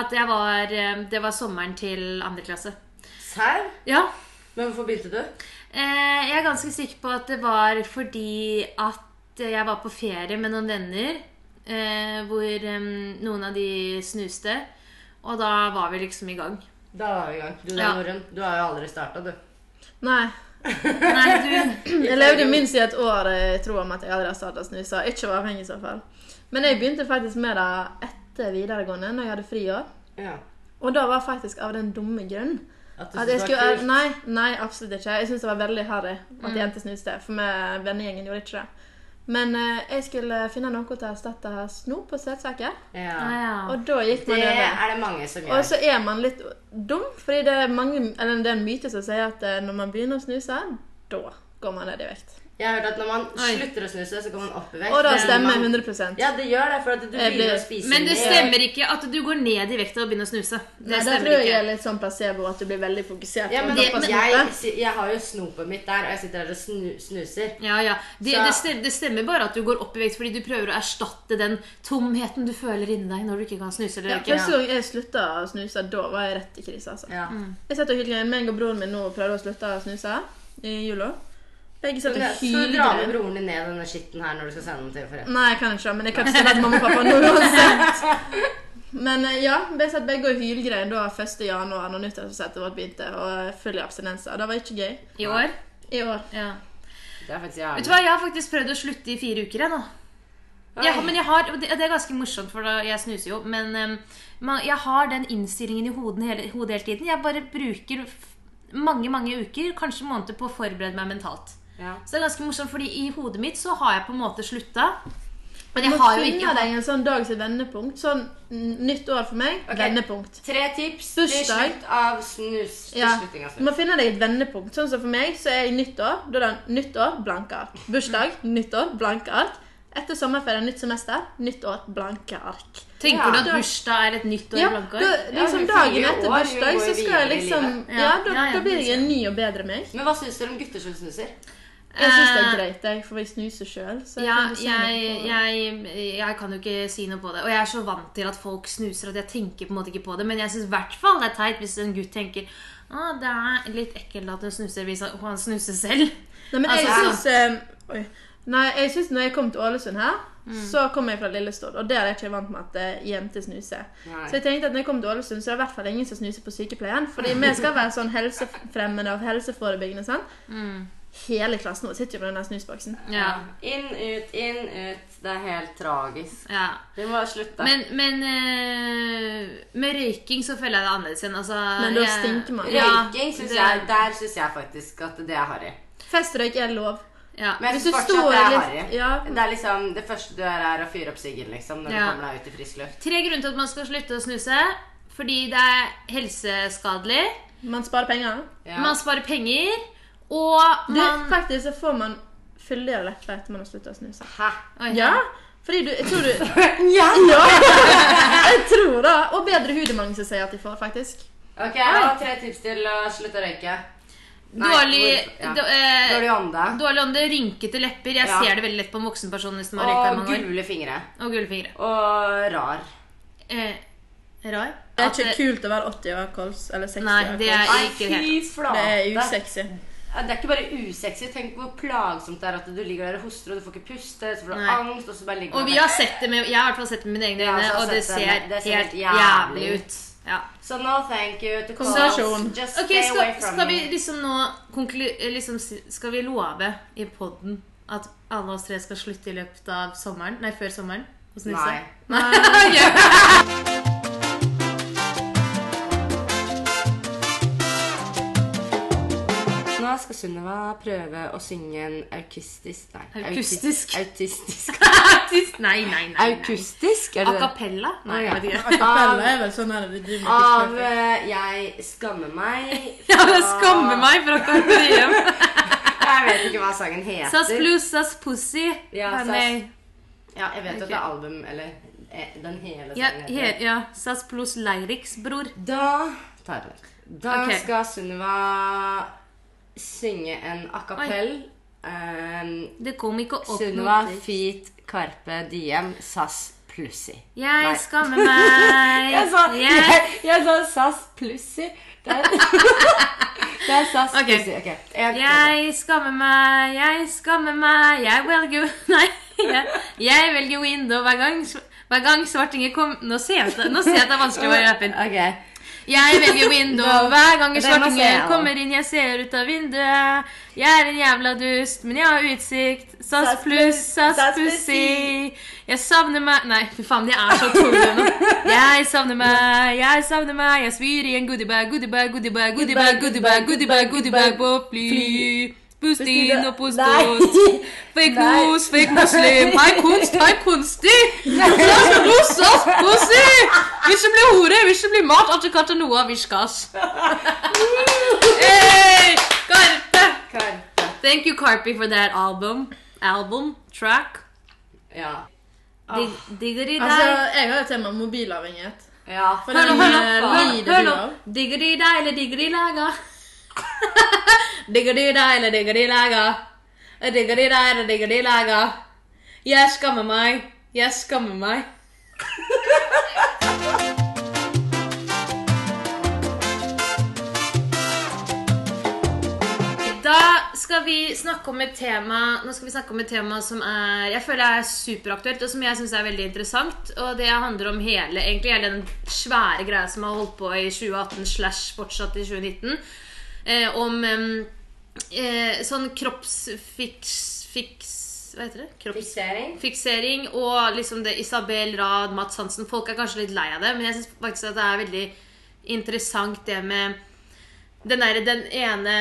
Speaker 1: At jeg var eh, Det var sommeren til andre klasse.
Speaker 2: Serr?
Speaker 1: Ja.
Speaker 2: Men hvorfor begynte du?
Speaker 1: Eh, jeg er ganske sikker på at det var fordi at jeg var på ferie med noen venner. Eh, hvor eh, noen av de snuste. Og da var vi liksom i gang.
Speaker 2: Da var vi i gang. Du da,
Speaker 1: Ja.
Speaker 2: Norun. Du har jo aldri starta, du.
Speaker 3: Nei.
Speaker 1: Nei, du
Speaker 3: Jeg levde minst i et år eh, i tro om at jeg aldri har starta å snuse. og Ikke var avhengig i så fall. Men jeg begynte faktisk med det etter videregående, når jeg hadde friår.
Speaker 2: Ja.
Speaker 3: Og da var faktisk av den dumme grunn
Speaker 2: At
Speaker 3: at jeg
Speaker 2: syntes det
Speaker 3: skulle
Speaker 2: var kult.
Speaker 3: Nei, nei absolutt ikke. Jeg syntes det var veldig harry
Speaker 2: Mm.
Speaker 3: at jenter snuste, for vi vennegjengen gjorde ikke det. Men eh, jeg skulle finne noe til å erstatte snop og søtsaker,
Speaker 2: Ja.
Speaker 1: ah, ja.
Speaker 3: og da gikk
Speaker 2: Det
Speaker 3: man over.
Speaker 2: er det mange som
Speaker 3: Og
Speaker 2: gjør.
Speaker 3: så er man litt dum, fordi det er, mange, eller det er en myte som sier at eh, når man begynner å snuse, da går man ned i vekt.
Speaker 2: Jeg har hørt at når man
Speaker 1: Oi.
Speaker 2: slutter å snuse, så kommer man opp i vekt.
Speaker 3: Og da
Speaker 2: Men
Speaker 3: stemmer
Speaker 2: man-
Speaker 3: 100
Speaker 2: Ja, det gjør det, for at du begynner
Speaker 3: Jeg
Speaker 2: å
Speaker 3: blir-
Speaker 2: spise
Speaker 1: Men det
Speaker 2: mer.
Speaker 1: stemmer ikke at du går ned i vekt av å begynne å snuse. Det
Speaker 3: Nei, da
Speaker 1: stemmer
Speaker 3: tror jeg det er
Speaker 1: ikke.
Speaker 3: litt sånn placebo, at du blir veldig fokusert.
Speaker 2: Ja,
Speaker 3: på
Speaker 2: men,
Speaker 1: det-
Speaker 3: å
Speaker 1: men-
Speaker 3: droppe
Speaker 2: jeg,
Speaker 3: snopet.
Speaker 2: si- jeg har jo snopet mitt der, og jeg sitter der og snu, snuser.
Speaker 1: Ja, ja. Det,
Speaker 2: Så-
Speaker 1: det, stemmer, det stemmer bare at du går opp i vekt fordi du prøver å erstatte den tomheten du føler inni deg når du ikke kan snuse eller
Speaker 3: Ja,
Speaker 1: røyke.
Speaker 3: Første gang jeg slutta å snuse, da var jeg rett i krise. altså.
Speaker 2: Ja.
Speaker 3: Jeg satt og hylte med meg og broren min nå og prøvde å slutte å snuse i jula. Begge
Speaker 2: Så
Speaker 3: satt
Speaker 2: du
Speaker 3: og
Speaker 2: så du drar med
Speaker 3: hylte.
Speaker 2: broren din ned denne skitten her når du skal sende den til foreldre.
Speaker 3: Nei, jeg kan ikke, men jeg kan ikke si det til mamma og pappa nå uansett. Men eh, ja, vi satt begge og hylgrein da 1. januar når nyttårsforsettet vårt begynte, og full i abstinenser. Det var ikke gøy.
Speaker 1: I år.
Speaker 3: I år.
Speaker 1: Ja.
Speaker 2: Det er faktisk
Speaker 1: Vet
Speaker 2: jævlig.
Speaker 1: du hva, Jeg har faktisk prøvd å slutte i fire uker. jeg nå. Jeg, har- men jeg har, og det, det er ganske morsomt, for da- jeg snuser jo. Men em, man, jeg har den innstillingen i hodet hele, hodet hele tiden. Jeg bare bruker f- mange mange uker, kanskje måneder, på å forberede meg mentalt.
Speaker 2: Ja.
Speaker 1: Så det er ganske morsomt, fordi i hodet mitt så har jeg på en måte slutta. Men
Speaker 3: Nå
Speaker 1: jeg har jo
Speaker 3: finner
Speaker 1: ikke
Speaker 3: deg en sånn dag som vendepunkt. Sånn mm, nytt år for meg,
Speaker 2: Ok.
Speaker 3: vendepunkt.
Speaker 2: Tre tips til
Speaker 3: Bursdag.
Speaker 2: slutt av snus. Til
Speaker 3: Ja.
Speaker 2: slutting av
Speaker 3: Du
Speaker 2: snus.
Speaker 3: må finne deg et vendepunkt. Sånn som for meg, så er jeg nyttår. Da er det nyttår, blanke ark. Bursdag,
Speaker 1: Mm.
Speaker 3: nyttår, blanke ark. Etter sommerferien, nytt semester, nytt år, blanke ark.
Speaker 1: Tenker
Speaker 2: Ja.
Speaker 1: du at bursdag er et nytt år i
Speaker 3: Ja,
Speaker 1: blanke
Speaker 3: da,
Speaker 1: år?
Speaker 2: Ja,
Speaker 3: liksom
Speaker 2: vi
Speaker 3: dagen
Speaker 2: fyller
Speaker 3: etter
Speaker 2: år, vi
Speaker 3: bursdag,
Speaker 2: går
Speaker 3: så skal jeg
Speaker 2: videre i
Speaker 3: liksom
Speaker 2: livet.
Speaker 1: Ja,
Speaker 3: Ja, da,
Speaker 1: ja, ja,
Speaker 3: da blir jeg en ny og bedre meg.
Speaker 2: Men hva syns dere om gutter som snuser?
Speaker 3: Jeg syns det er
Speaker 1: Eh,
Speaker 3: greit, jeg, for jeg snuser sjøl.
Speaker 1: Ja, jeg, jeg, jeg kan jo ikke si noe på det. Og jeg er så vant til at folk snuser at jeg tenker på en måte ikke på det. Men jeg syns i hvert fall det er teit hvis en gutt tenker ah, det er litt ekkelt at hun snuser hvis han- han snuser selv.
Speaker 3: Nei, men jeg
Speaker 1: Altså-
Speaker 3: syns eh, oi. Nei, jeg syns når jeg kom til Ålesund her, så kom jeg fra Lillestord. Og der er jeg ikke vant med at eh, jenter snuser.
Speaker 2: Nei.
Speaker 3: Så jeg tenkte at når jeg kom til Ålesund, så er det i hvert fall ingen som snuser på sykepleien. Fordi vi skal være sånn helsefremmende og helseforebyggende. sant? Hele klassen vår sitter jo med den der snusboksen.
Speaker 1: Ja.
Speaker 2: Inn, ut, inn, ut. Det er helt tragisk.
Speaker 1: ja.
Speaker 2: Vi må slutte.
Speaker 1: Men, men eh, med røyking så føler jeg det annerledes igjen. Altså,
Speaker 3: Men da
Speaker 1: jeg-
Speaker 3: stinker man.
Speaker 2: Røyking synes
Speaker 1: det-
Speaker 2: jeg, der syns jeg faktisk at det er harry.
Speaker 3: Festrøyk er lov.
Speaker 1: Ja.
Speaker 2: Men jeg
Speaker 3: Hvis
Speaker 2: syns
Speaker 3: du
Speaker 2: fortsatt
Speaker 3: står
Speaker 2: det er
Speaker 3: litt-
Speaker 2: harry.
Speaker 3: ja.
Speaker 2: Det er liksom det første du gjør, er å fyre opp siggen liksom, når
Speaker 1: Ja.
Speaker 2: du kommer deg ut i frisk luft.
Speaker 1: Tre grunner til at man skal slutte å snuse. Fordi det er helseskadelig.
Speaker 3: Man sparer penger.
Speaker 2: Ja.
Speaker 1: Man sparer penger. Og
Speaker 3: Du,
Speaker 1: man
Speaker 3: faktisk så får man fyldigere lepper etter man har slutta å snuse.
Speaker 2: Hæ?
Speaker 1: Oi.
Speaker 3: Ja, fordi du Jeg tror du
Speaker 2: Ja!
Speaker 3: Ja! Jeg tror det. Og bedre hud er mange som sier at de får, faktisk.
Speaker 2: Ok, jeg har tre tips til å slutte å røyke. Nei,
Speaker 1: Dårlig
Speaker 2: hvorfor- ja.
Speaker 1: da- eh,
Speaker 2: Dårlig ånde.
Speaker 1: Dårlig ånde, rynkete lepper. Jeg
Speaker 2: Ja.
Speaker 1: ser det veldig lett på en voksen person hvis man har røyka i
Speaker 2: Og
Speaker 1: mange år.
Speaker 2: gule fingre.
Speaker 1: Og gule fingre.
Speaker 2: Og rar.
Speaker 1: Eh, rar?
Speaker 3: Det er
Speaker 1: At
Speaker 3: ikke kult å være 80 år kols eller 60
Speaker 1: Nei,
Speaker 3: år
Speaker 1: det er-
Speaker 3: kols.
Speaker 2: Nei,
Speaker 1: ikke
Speaker 2: fy
Speaker 1: helt-
Speaker 2: flate.
Speaker 3: Det er usexy.
Speaker 2: Ja, Det er ikke bare usexy. Tenk hvor plagsomt det er at du ligger der og hoster, og du får ikke puste, så får du
Speaker 1: Nei.
Speaker 2: angst, og så bare ligger du
Speaker 1: Og vi
Speaker 2: der.
Speaker 1: har sett det med, jeg har i hvert fall sett det med mine egne
Speaker 2: Ja,
Speaker 1: øyne,
Speaker 2: så har
Speaker 1: og det
Speaker 2: sett det,
Speaker 1: ser,
Speaker 2: men det ser
Speaker 1: helt
Speaker 2: helt
Speaker 1: jævlig
Speaker 2: jævlig
Speaker 1: ut. Ja.
Speaker 2: Så no thank you to calls.
Speaker 3: Konsentrasjon.
Speaker 2: Just
Speaker 1: Ok,
Speaker 2: stay
Speaker 1: skal,
Speaker 2: away from
Speaker 1: skal vi
Speaker 2: me.
Speaker 1: liksom nå konklu, eh, liksom, si- Skal vi love i podden at alle oss tre skal slutte i løpet av sommeren? Nei, før sommeren? Hos Nisse?
Speaker 2: Nei.
Speaker 1: Ok.
Speaker 2: Nå skal Sunniva prøve å synge en aukustisk Nei.
Speaker 1: Aukustisk.
Speaker 2: Autistisk.
Speaker 1: nei, nei, nei. nei.
Speaker 2: Aukustisk? Er
Speaker 1: A
Speaker 2: det det?
Speaker 1: cappella? Nei,
Speaker 2: Å, ja.
Speaker 1: jeg vet ikke.
Speaker 2: Av,
Speaker 3: Akapella er vel sånn her, vi driver med
Speaker 2: av
Speaker 3: Pitch Perfect.
Speaker 2: eh, Jeg skammer meg.
Speaker 1: Ja, det skammer meg for at jeg kom hjem.
Speaker 2: Jeg vet ikke hva sangen heter.
Speaker 1: Sass blues, sass pussy.
Speaker 2: Ja,
Speaker 1: Ah,
Speaker 2: sass.
Speaker 1: nei.
Speaker 2: Ja, jeg vet jo at
Speaker 1: Ok.
Speaker 2: det er album, eller eh, den hele
Speaker 1: Ja,
Speaker 2: sangen
Speaker 1: he, ja, sass pluss Leirix, bror.
Speaker 2: Da tar jeg det. Da
Speaker 1: Ok.
Speaker 2: skal Sunniva synge en a cappell. Um,
Speaker 1: Det kom ikke opp
Speaker 2: Sunniva
Speaker 1: noe.
Speaker 2: feat Carpe Diem SAS Plussi. Nei.
Speaker 1: Jeg skammer meg.
Speaker 2: Jeg sa,
Speaker 1: Jeg-
Speaker 2: jeg, jeg sa SAS Plussi. Det er, det er SAS
Speaker 1: Ok.
Speaker 2: Plussi. Ok. En, to, tre.
Speaker 1: Jeg skammer meg, jeg skammer meg, jeg velger Nei, jeg, jeg velger window hver gang, hver gang svartinger kom Nå ser jeg at det- nå ser jeg at det er vanskelig å være rappen.
Speaker 2: Ok.
Speaker 1: Jeg velger window
Speaker 2: No.
Speaker 1: hver gang
Speaker 2: Den må
Speaker 1: en
Speaker 2: se jeg
Speaker 1: svartinger
Speaker 2: også.
Speaker 1: kommer inn. Jeg ser ut av vinduet. Jeg er en jævla dust, men jeg har utsikt. SAS
Speaker 3: SAS
Speaker 1: pluss, SAS
Speaker 3: SAS
Speaker 1: pussy. Jeg savner meg Nei, fy faen, de er så tunge nå. Jeg savner meg, jeg savner meg. Jeg svir i en goodiebag, goodiebag, goodiebag, goodiebag, goodiebag, goodiebag, goodiebag på fly. Pustin og postos. Fake
Speaker 2: Nei.
Speaker 1: news, fake muslim. Hei, kunst, hei, kunstig. Sass, pluss, sass, pussy. Vil ikke bli hore, vil ikke bli mat. Alt du kan til noe av viskas. Hey, Karpe.
Speaker 2: Karpe.
Speaker 1: Thank you, Karpe, for that album. Album, track.
Speaker 2: Ja.
Speaker 1: Dig, diggeri
Speaker 3: Altså,
Speaker 1: deg.
Speaker 3: jeg har jo tema mobilavhengighet.
Speaker 2: ja.
Speaker 3: For
Speaker 1: Hør nå, hør
Speaker 3: den
Speaker 1: nå.
Speaker 3: eh,
Speaker 1: Hør,
Speaker 3: lider
Speaker 1: hør
Speaker 3: du
Speaker 1: nå.
Speaker 3: av.
Speaker 1: Diggeri deg eller diggeri laga. diggeri deg eller diggeri laga. Diggeri deg eller diggeri laga. Jeg skammer meg. Jeg skammer meg. Da skal vi snakke om et tema Nå skal vi snakke om et tema som er Jeg føler er superaktuelt, og som jeg syns er veldig interessant. Og det handler om hele, egentlig hele den svære greia som har holdt på i 2018 slash fortsatt i 2019. Eh, om em, eh, sånn kroppsfiks... Fiks, hva heter det? Kropps
Speaker 2: Fiksering.
Speaker 1: fiksering og liksom det Isabel Rad, Mats Hansen Folk er kanskje litt lei av det, men jeg syns faktisk at det er veldig interessant det med den, der, den ene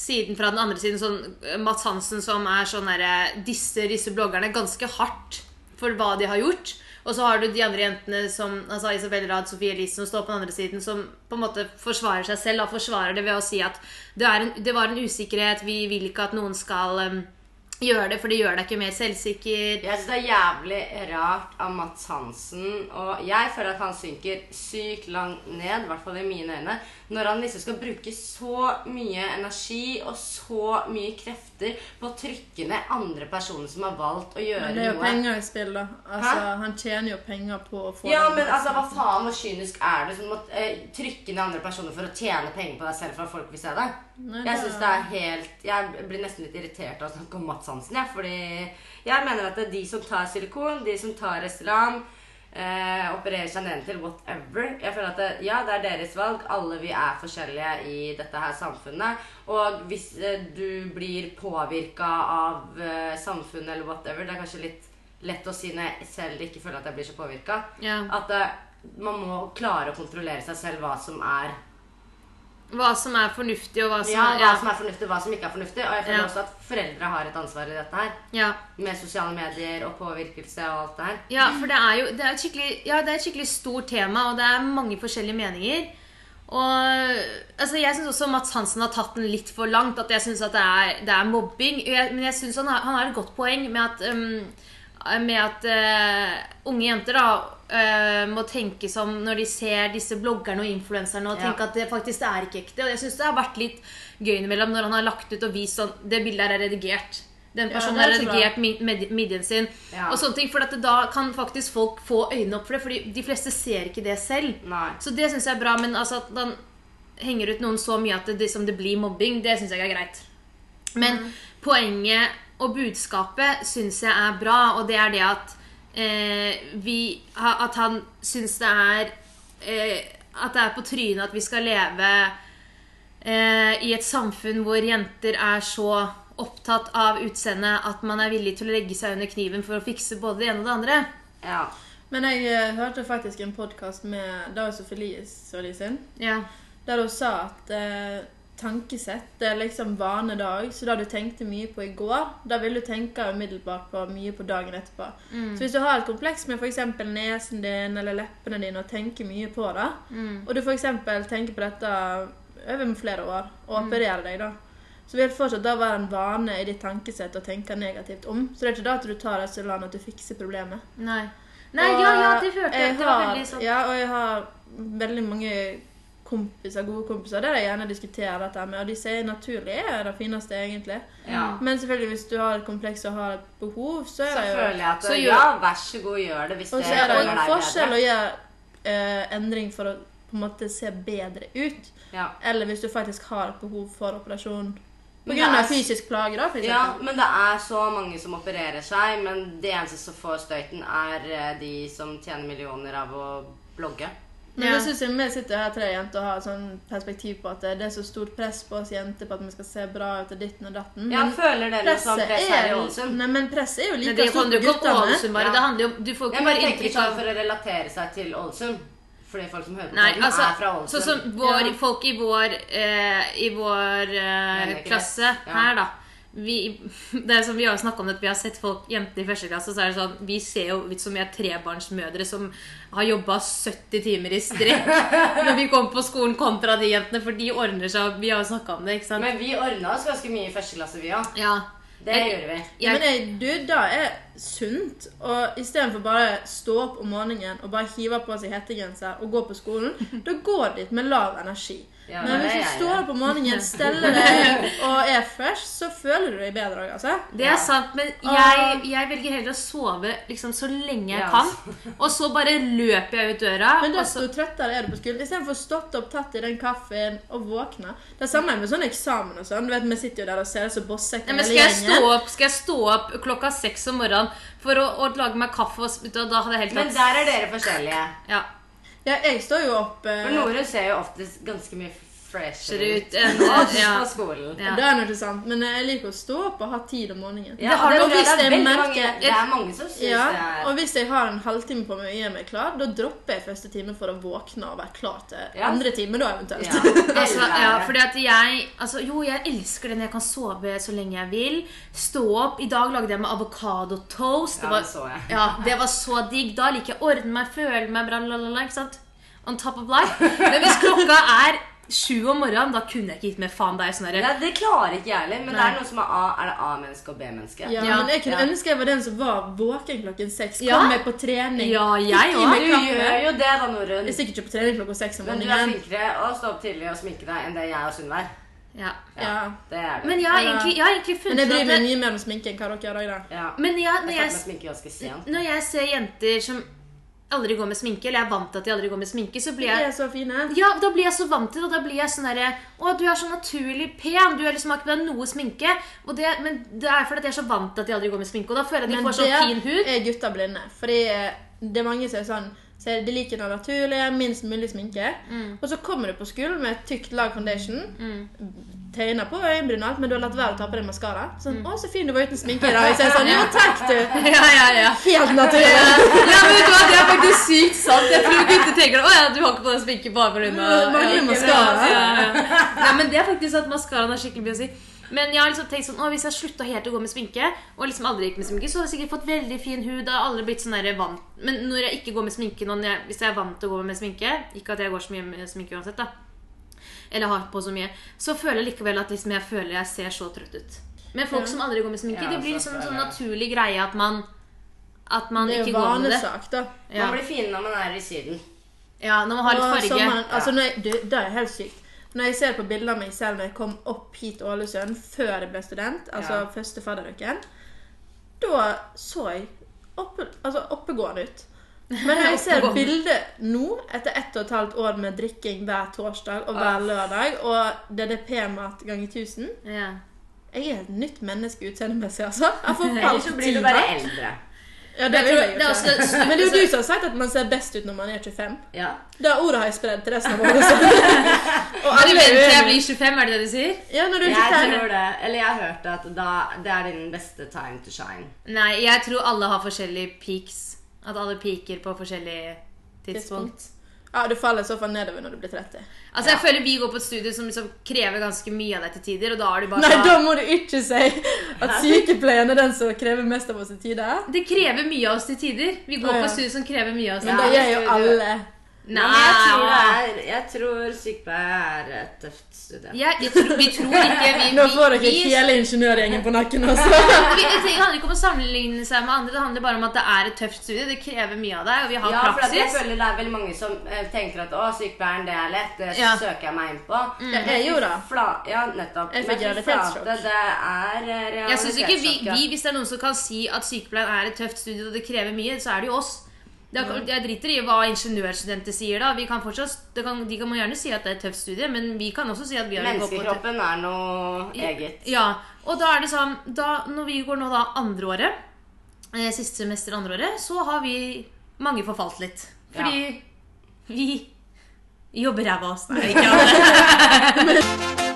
Speaker 1: siden eh, fra den eh, andre siden. Sånn, Mats Hansen som er sånn derre Disser disse bloggerne ganske hardt. for hva de har gjort. Og så har du de andre jentene som altså Isabel Rad, Sofie Elise, som står på den andre siden, som på en måte forsvarer seg selv. Da forsvarer det ved å si at det, er en, det var en usikkerhet, vi vil ikke at noen skal em, gjøre det, for det gjør deg ikke mer selvsikker.
Speaker 2: Jeg synes det er jævlig rart av Mats Hansen, og jeg føler at han synker sykt langt ned, i hvert fall i mine øyne, når han liksom skal bruke så mye energi og så mye krefter på å trykke ned andre personer som har valgt å gjøre
Speaker 3: Men det er jo
Speaker 2: noe.
Speaker 3: penger i spill, da. Altså, han tjener jo penger på å få
Speaker 2: Ja,
Speaker 3: den
Speaker 2: men altså,
Speaker 3: plassen.
Speaker 2: hva faen hvor kynisk er du som må eh, trykke ned andre personer for å tjene penger på deg selv for at folk vil se deg?
Speaker 3: Nei,
Speaker 2: jeg
Speaker 3: det
Speaker 2: synes
Speaker 3: er-
Speaker 2: det er helt Jeg blir nesten litt irritert av å snakke om Mads Hansen, jeg. Fordi jeg mener at det er de som tar silikon, de som tar restaurant, eh, opererer seg nedentil, whatever. Jeg føler at det, ja, det er deres valg. Alle vi er forskjellige i dette her samfunnet. Og hvis eh, du blir påvirka av eh, samfunnet eller whatever, det er kanskje litt lett å si når jeg selv ikke føler at jeg blir så påvirka.
Speaker 1: Ja.
Speaker 2: At eh, man må klare å kontrollere seg selv hva som er
Speaker 1: Hva som er fornuftig, og hva som
Speaker 2: ja,
Speaker 1: er
Speaker 2: hva som er fornuftig, hva som ikke er fornuftig. Og jeg føler
Speaker 1: Ja.
Speaker 2: også at foreldre har et ansvar i dette her.
Speaker 1: ja.
Speaker 2: Med sosiale medier og påvirkelse og alt det her.
Speaker 1: Ja, for det er jo det er et skikkelig, ja, det er et skikkelig stort tema, og det er mange forskjellige meninger. Og altså, Jeg syns også Mats Hansen har tatt den litt for langt. At jeg synes at det er, det er mobbing. Jeg, men jeg synes han, har, han har et godt poeng med at, øhm, med at øh, unge jenter da, øh, må tenke som når de ser disse bloggerne og influenserne, og
Speaker 2: Ja.
Speaker 1: tenke at det faktisk er ikke ekte. Og jeg syns det har vært litt gøy innimellom når han har lagt ut og vist sånn Det bildet her er redigert. Den
Speaker 3: Ja,
Speaker 1: personen
Speaker 3: det er
Speaker 1: har
Speaker 3: så bra.
Speaker 1: redigert mi- med- midjen sin.
Speaker 2: Ja.
Speaker 1: Og sånne ting, for at det- da kan faktisk folk få øynene opp for det, fordi de fleste ser ikke det selv.
Speaker 2: Nei.
Speaker 1: Så det syns jeg er bra, men altså at man henger ut noen så mye at det, det, som det blir mobbing, det syns jeg ikke er greit. Men poenget og budskapet syns jeg er bra, og det er det at eh, vi ha- At han syns det er eh, At det er på trynet at vi skal leve eh, i et samfunn hvor jenter er så opptatt av utseendet at man er villig til å legge seg under kniven for å fikse både det ene og det andre.
Speaker 2: Ja.
Speaker 3: Men jeg eh, hørte faktisk en podkast med Dag Sofie Soli sin,
Speaker 1: Ja.
Speaker 3: der hun sa at eh, tankesett det er liksom vanedag, så det du tenkte mye på i går, da vil du tenke umiddelbart på mye på dagen etterpå. Så hvis du har et kompleks med f.eks. nesen din eller leppene dine og tenker mye på det, og du f.eks. tenker på dette over flere år og opererer deg, da, så vil det fortsatt da være en vane i ditt tankesett å tenke negativt om. Så det er ikke da at du tar det så langt at du fikser problemet.
Speaker 1: Nei. Nei, ja, ja, det
Speaker 3: Og eh,
Speaker 1: hørte jeg.
Speaker 3: jeg
Speaker 1: at Det var
Speaker 3: har-
Speaker 1: veldig sånn.
Speaker 3: Ja, og jeg har veldig mange kompiser, gode kompiser der jeg gjerne diskuterer dette med, og de sier naturlig er det fineste, egentlig.
Speaker 2: ja.
Speaker 3: Men selvfølgelig, hvis du har et kompleks og har et behov, så er
Speaker 2: Så
Speaker 3: det jo
Speaker 2: føler jeg at
Speaker 1: Så gjør-
Speaker 2: ja, vær så god, gjør det hvis
Speaker 3: Og
Speaker 2: det
Speaker 3: så er det
Speaker 2: gjør
Speaker 3: jo
Speaker 2: deg
Speaker 3: en forskjell
Speaker 2: bedre.
Speaker 3: å gjøre eh, endring for å på en måte se bedre ut,
Speaker 2: Ja.
Speaker 3: eller hvis du faktisk har et behov for operasjon på
Speaker 2: Men
Speaker 3: grunn
Speaker 2: det
Speaker 3: av
Speaker 2: er-
Speaker 3: fysisk plage, da, for
Speaker 2: ja,
Speaker 3: eksempel.
Speaker 2: men det er så mange som opererer seg, men det eneste som får støyten, er eh, de som tjener millioner av å blogge.
Speaker 3: Men
Speaker 1: Ja.
Speaker 3: det synes jeg vi sitter her tre jenter og har et sånn perspektiv på at det er så stort press på oss jenter på at vi skal se bra ut og ditten og datten.
Speaker 2: Jeg føler dere noe sånt sånn press her i
Speaker 3: Mm. er,
Speaker 2: Ålesund.
Speaker 3: nei, men presset er jo
Speaker 1: Men
Speaker 3: like
Speaker 1: det
Speaker 3: stort
Speaker 1: handler
Speaker 3: på
Speaker 1: jo ikke om
Speaker 3: guttene.
Speaker 1: Ålesund bare.
Speaker 2: Ja.
Speaker 1: Det handler jo om, Du får
Speaker 2: Jeg
Speaker 1: ikke
Speaker 2: bare
Speaker 1: bare
Speaker 2: tenker
Speaker 1: inntrykk
Speaker 2: sånn
Speaker 1: av
Speaker 2: for å relatere seg til Ålesund. Fordi folk som hører på
Speaker 1: Nei,
Speaker 2: podden
Speaker 1: altså,
Speaker 2: er fra Ålesund.
Speaker 1: sånn som vår,
Speaker 3: Ja.
Speaker 1: folk i vår, eh, i vår eh,
Speaker 2: Mener ikke
Speaker 1: klasse
Speaker 2: det. Ja.
Speaker 1: her, da. Vi, det er som vi har snakket om at vi har sett folk, jenter i første klasse, så er det sånn Vi ser jo ut som vi er trebarnsmødre som har jobba 70 timer i strekk når vi kommer på skolen, kontra de jentene, for de ordner seg. Vi har jo snakka om det, ikke sant?
Speaker 2: Men vi ordna oss ganske mye i første klasse, vi òg.
Speaker 1: Ja.
Speaker 2: Det
Speaker 1: Jeg-
Speaker 2: gjorde vi.
Speaker 3: Ja,
Speaker 1: Jeg,
Speaker 3: men jeg, du, det er sunt. Og istedenfor bare stå opp om morgenen og bare hive på seg hettegenser og gå på skolen, da går dit med lav energi.
Speaker 2: Ja,
Speaker 3: Men
Speaker 2: det
Speaker 3: hvis
Speaker 2: er
Speaker 3: du
Speaker 2: jeg,
Speaker 3: står
Speaker 2: ja.
Speaker 3: opp om morgenen, steller deg og er fresh, så føler du deg bedre òg, altså.
Speaker 1: Det
Speaker 2: Ja.
Speaker 1: er sant, men
Speaker 3: Og-
Speaker 1: jeg, jeg velger heller å sove liksom, så lenge jeg
Speaker 2: Ja,
Speaker 1: kan. Og så bare løper jeg ut døra. og
Speaker 3: Men
Speaker 1: så,
Speaker 3: desto trøttere er du på skolen. Istedenfor å stått opp, tatt i den kaffen og våkne. Det samme er med sånn eksamen og sånn. Du vet, Vi sitter jo der og ser det så bossekk
Speaker 1: Nei, men skal, jeg stå opp, skal jeg stå opp klokka seks om morgenen for å, å lage meg kaffe og sp- da, da hadde jeg helt
Speaker 2: Men
Speaker 1: tatt
Speaker 2: der er dere forskjellige.
Speaker 1: ja.
Speaker 3: Ja, jeg står jo opp eh,
Speaker 2: For Norun ser jo oftest ganske mye freshere
Speaker 1: Ser
Speaker 2: ut
Speaker 1: ut enn
Speaker 2: oss
Speaker 1: ja.
Speaker 2: på skolen.
Speaker 1: Ja.
Speaker 3: Det er nå ikke sant, men eh, jeg liker å stå opp og ha tid om morgenen.
Speaker 2: Ja,
Speaker 1: Det har
Speaker 2: og
Speaker 1: nok
Speaker 2: tror jeg
Speaker 3: hvis
Speaker 2: det er
Speaker 3: jeg
Speaker 2: veldig mange,
Speaker 3: merker-
Speaker 2: det er mange som syns
Speaker 3: Ja,
Speaker 2: det er
Speaker 3: og hvis jeg har en halvtime på meg og gjør meg klar, da dropper jeg første time for å våkne og være klar til
Speaker 2: Ja.
Speaker 3: andre time da eventuelt.
Speaker 2: ja,
Speaker 1: Altså,
Speaker 2: eller-
Speaker 1: ja, fordi at jeg altså, Jo, jeg elsker det når jeg kan sove så lenge jeg vil. Stå opp. I dag lagde jeg med
Speaker 2: Ja,
Speaker 1: avokadotoast. Det var-
Speaker 2: det så jeg.
Speaker 1: Ja, det var så digg. Da liker jeg å ordne meg, føle meg bra, la, la, la, ikke sant? On top of life. Men hvis klokka er sju om morgenen, da kunne jeg ikke gitt mer faen. Det er sånn der,
Speaker 2: Nei, det klarer ikke jeg heller. Men det
Speaker 1: Nei.
Speaker 2: er noe som er A. Er det A-menneske og B-menneske?
Speaker 3: Ja,
Speaker 1: Ja,
Speaker 3: men jeg kunne
Speaker 2: ja.
Speaker 3: ønske jeg var den som var våken klokken seks. Kom
Speaker 1: Ja.
Speaker 3: meg på trening.
Speaker 1: Ja, jeg
Speaker 3: Fikk i
Speaker 1: også.
Speaker 2: Du
Speaker 3: meg kaffe.
Speaker 2: gjør jo det, da, Norun.
Speaker 3: Jeg er sikkert ikke på trening klokka seks om
Speaker 2: Men du er
Speaker 3: morgenen.
Speaker 2: flinkere å stå opp tidlig og sminke deg enn det jeg og Sunniva er.
Speaker 1: ja.
Speaker 3: Ja.
Speaker 2: Det er du.
Speaker 1: Men jeg har egentlig, jeg har egentlig
Speaker 3: Men
Speaker 1: funnet
Speaker 3: jeg
Speaker 1: ut
Speaker 3: bryr
Speaker 1: at
Speaker 3: meg
Speaker 1: det-
Speaker 3: mye mer om sminke enn hva dere gjør i dag.
Speaker 2: ja.
Speaker 1: Men jeg, når
Speaker 2: Jeg
Speaker 1: jeg
Speaker 2: startet med sminke ganske sent.
Speaker 1: Når jeg ser jenter som aldri går med sminke, eller jeg er vant til at de aldri går med sminke, så blir
Speaker 3: De
Speaker 1: jeg
Speaker 3: er så fine.
Speaker 1: ja, da blir jeg så vant til det, og da blir jeg sånn derre Å, du er så naturlig pen, du har liksom ikke på deg noe sminke. Og det, men det er fordi at jeg er så vant til at de aldri går med sminke, og da føler jeg at de
Speaker 3: Men
Speaker 1: får så
Speaker 3: der
Speaker 1: fin hud.
Speaker 3: er gutta blinde. Fordi eh, det er mange som er sånn så De liker det naturlige, minst mulig sminke.
Speaker 1: Mm.
Speaker 3: Og så kommer du på skolen med et tykt lag foundation.
Speaker 1: Mm.
Speaker 3: Tegner på øyenbryn og alt, men du har latt være å ta på deg maskara. Sånn, 'Å, så fin du var uten sminke i dag.' Så jeg er sånn, jo takk, du.
Speaker 1: Ja, ja, ja.
Speaker 3: Helt naturlig.
Speaker 1: Ja, men vet du hva, Det er faktisk sykt sant. Jeg tror gutter tenker Å ja, du har ikke på deg sminke bare fordi
Speaker 3: Bare fordi mascara.
Speaker 1: Ja, ja. Nei, men det er faktisk at maskaraen har skikkelig mye å si. Men jeg har liksom tenkt sånn, å, hvis jeg slutta helt å gå med sminke, og liksom aldri gikk med sminke, så hadde jeg sikkert fått veldig fin hud. Da har aldri blitt sånn der vant. Men når jeg ikke går med sminke, nå, når jeg, hvis jeg er vant til å gå med sminke Ikke at jeg går så mye med sminke uansett, da. Eller har på så mye. Så føler jeg likevel at liksom jeg føler jeg ser så trøtt ut. Men folk som aldri går med sminke,
Speaker 2: Ja,
Speaker 1: det blir
Speaker 2: så
Speaker 1: liksom en sånn
Speaker 2: føler jeg.
Speaker 1: naturlig greie at man at man
Speaker 3: Det er
Speaker 1: ikke
Speaker 3: jo
Speaker 1: går med det.
Speaker 3: vanesak, da.
Speaker 1: Ja.
Speaker 2: Man blir fin når man er i Syden.
Speaker 1: ja, når man har
Speaker 3: Og
Speaker 1: litt farge.
Speaker 3: sommeren- altså, når jeg, du, det er helt sykt. Når jeg ser på bilder av meg selv når jeg kom opp hit til Ålesund før jeg ble student, altså
Speaker 2: Ja.
Speaker 3: første fadderuken, da så jeg oppe, altså, oppegående ut. Men når jeg ser
Speaker 1: Oppegående.
Speaker 3: bilder nå, etter ett og et halvt år med drikking hver torsdag og hver lørdag, og DDP-mat ganger 1000
Speaker 1: Ja.
Speaker 3: Jeg er et nytt menneske utseendemessig, altså. Jeg får
Speaker 2: Ellers så blir du bare eldre.
Speaker 3: Ja, det vil
Speaker 1: tror-
Speaker 3: jeg jo
Speaker 1: det er
Speaker 3: ikke.
Speaker 1: også-
Speaker 3: Men det er jo du som har sagt at man ser best ut når man er 25.
Speaker 2: Ja.
Speaker 3: Det ordet har jeg spredd til resten av året. Og
Speaker 1: Bare
Speaker 3: alle
Speaker 1: vent til jeg
Speaker 3: er
Speaker 1: blir 25, er det det du sier?
Speaker 3: Ja, når du er
Speaker 2: Jeg
Speaker 3: 25.
Speaker 2: tror det. Eller jeg har hørt at da, det er din beste time to shine.
Speaker 1: Nei, jeg tror alle har forskjellige peaks. At alle peaker på forskjellig tidspunkt.
Speaker 3: Tidspunkt. Ja, du faller i så fall nedover når du blir 30.
Speaker 1: Altså, jeg føler vi går på et studie som liksom krever ganske mye av deg til tider, og da er du bare sånn,
Speaker 3: Nei, da må du ikke si at sykepleien er den som krever mest av oss i tide.
Speaker 1: "Ah, Det krever mye av oss til tider. Vi går
Speaker 3: Å, ja.
Speaker 1: på et studie som krever mye av oss.
Speaker 3: Men
Speaker 1: til
Speaker 3: det
Speaker 1: tider.
Speaker 3: gjør jo alle.
Speaker 1: Nei,
Speaker 2: Men jeg tror, det er, jeg tror sykepleie er et tøft studie.
Speaker 1: Jeg- jeg tror, vi tror ikke vi,
Speaker 3: Nå får dere
Speaker 1: vi, vi
Speaker 3: hele ingeniørgjengen på nakken også.
Speaker 1: Vi- Det handler ikke om å sammenligne seg med andre, det handler bare om at det er et tøft studie. Det krever mye av deg, og vi har
Speaker 2: Ja, for at jeg
Speaker 1: praksis.
Speaker 2: føler det er veldig mange som eh, tenker at å, sykepleieren, det er lett, det
Speaker 1: Ja. Mm.
Speaker 2: søker jeg meg inn på.
Speaker 3: Det er jo da.
Speaker 2: Fla, ja, nettopp.
Speaker 3: Jeg
Speaker 2: Men
Speaker 3: fikk realitetssjokk.
Speaker 2: flate, det er eh,
Speaker 1: Jeg synes ikke vi,
Speaker 2: realitetssjokk. ja.
Speaker 1: vi, Hvis det er noen som kan si at sykepleien er et tøft studie og det krever mye, så er det jo oss. Det er, jeg driter i hva ingeniørstudenter sier da. Vi kan fortsatt, det kan, de kan må gjerne si at det er et tøft studie, men vi kan også si at vi har gått på et-
Speaker 2: Menneskekroppen er noe eget.
Speaker 1: Ja, og da er det sånn da, Når vi går nå da andre året, eh, siste semester andre året, så har vi mange forfalt litt. Fordi vi jobber ræva av oss. Nei, ikke alle.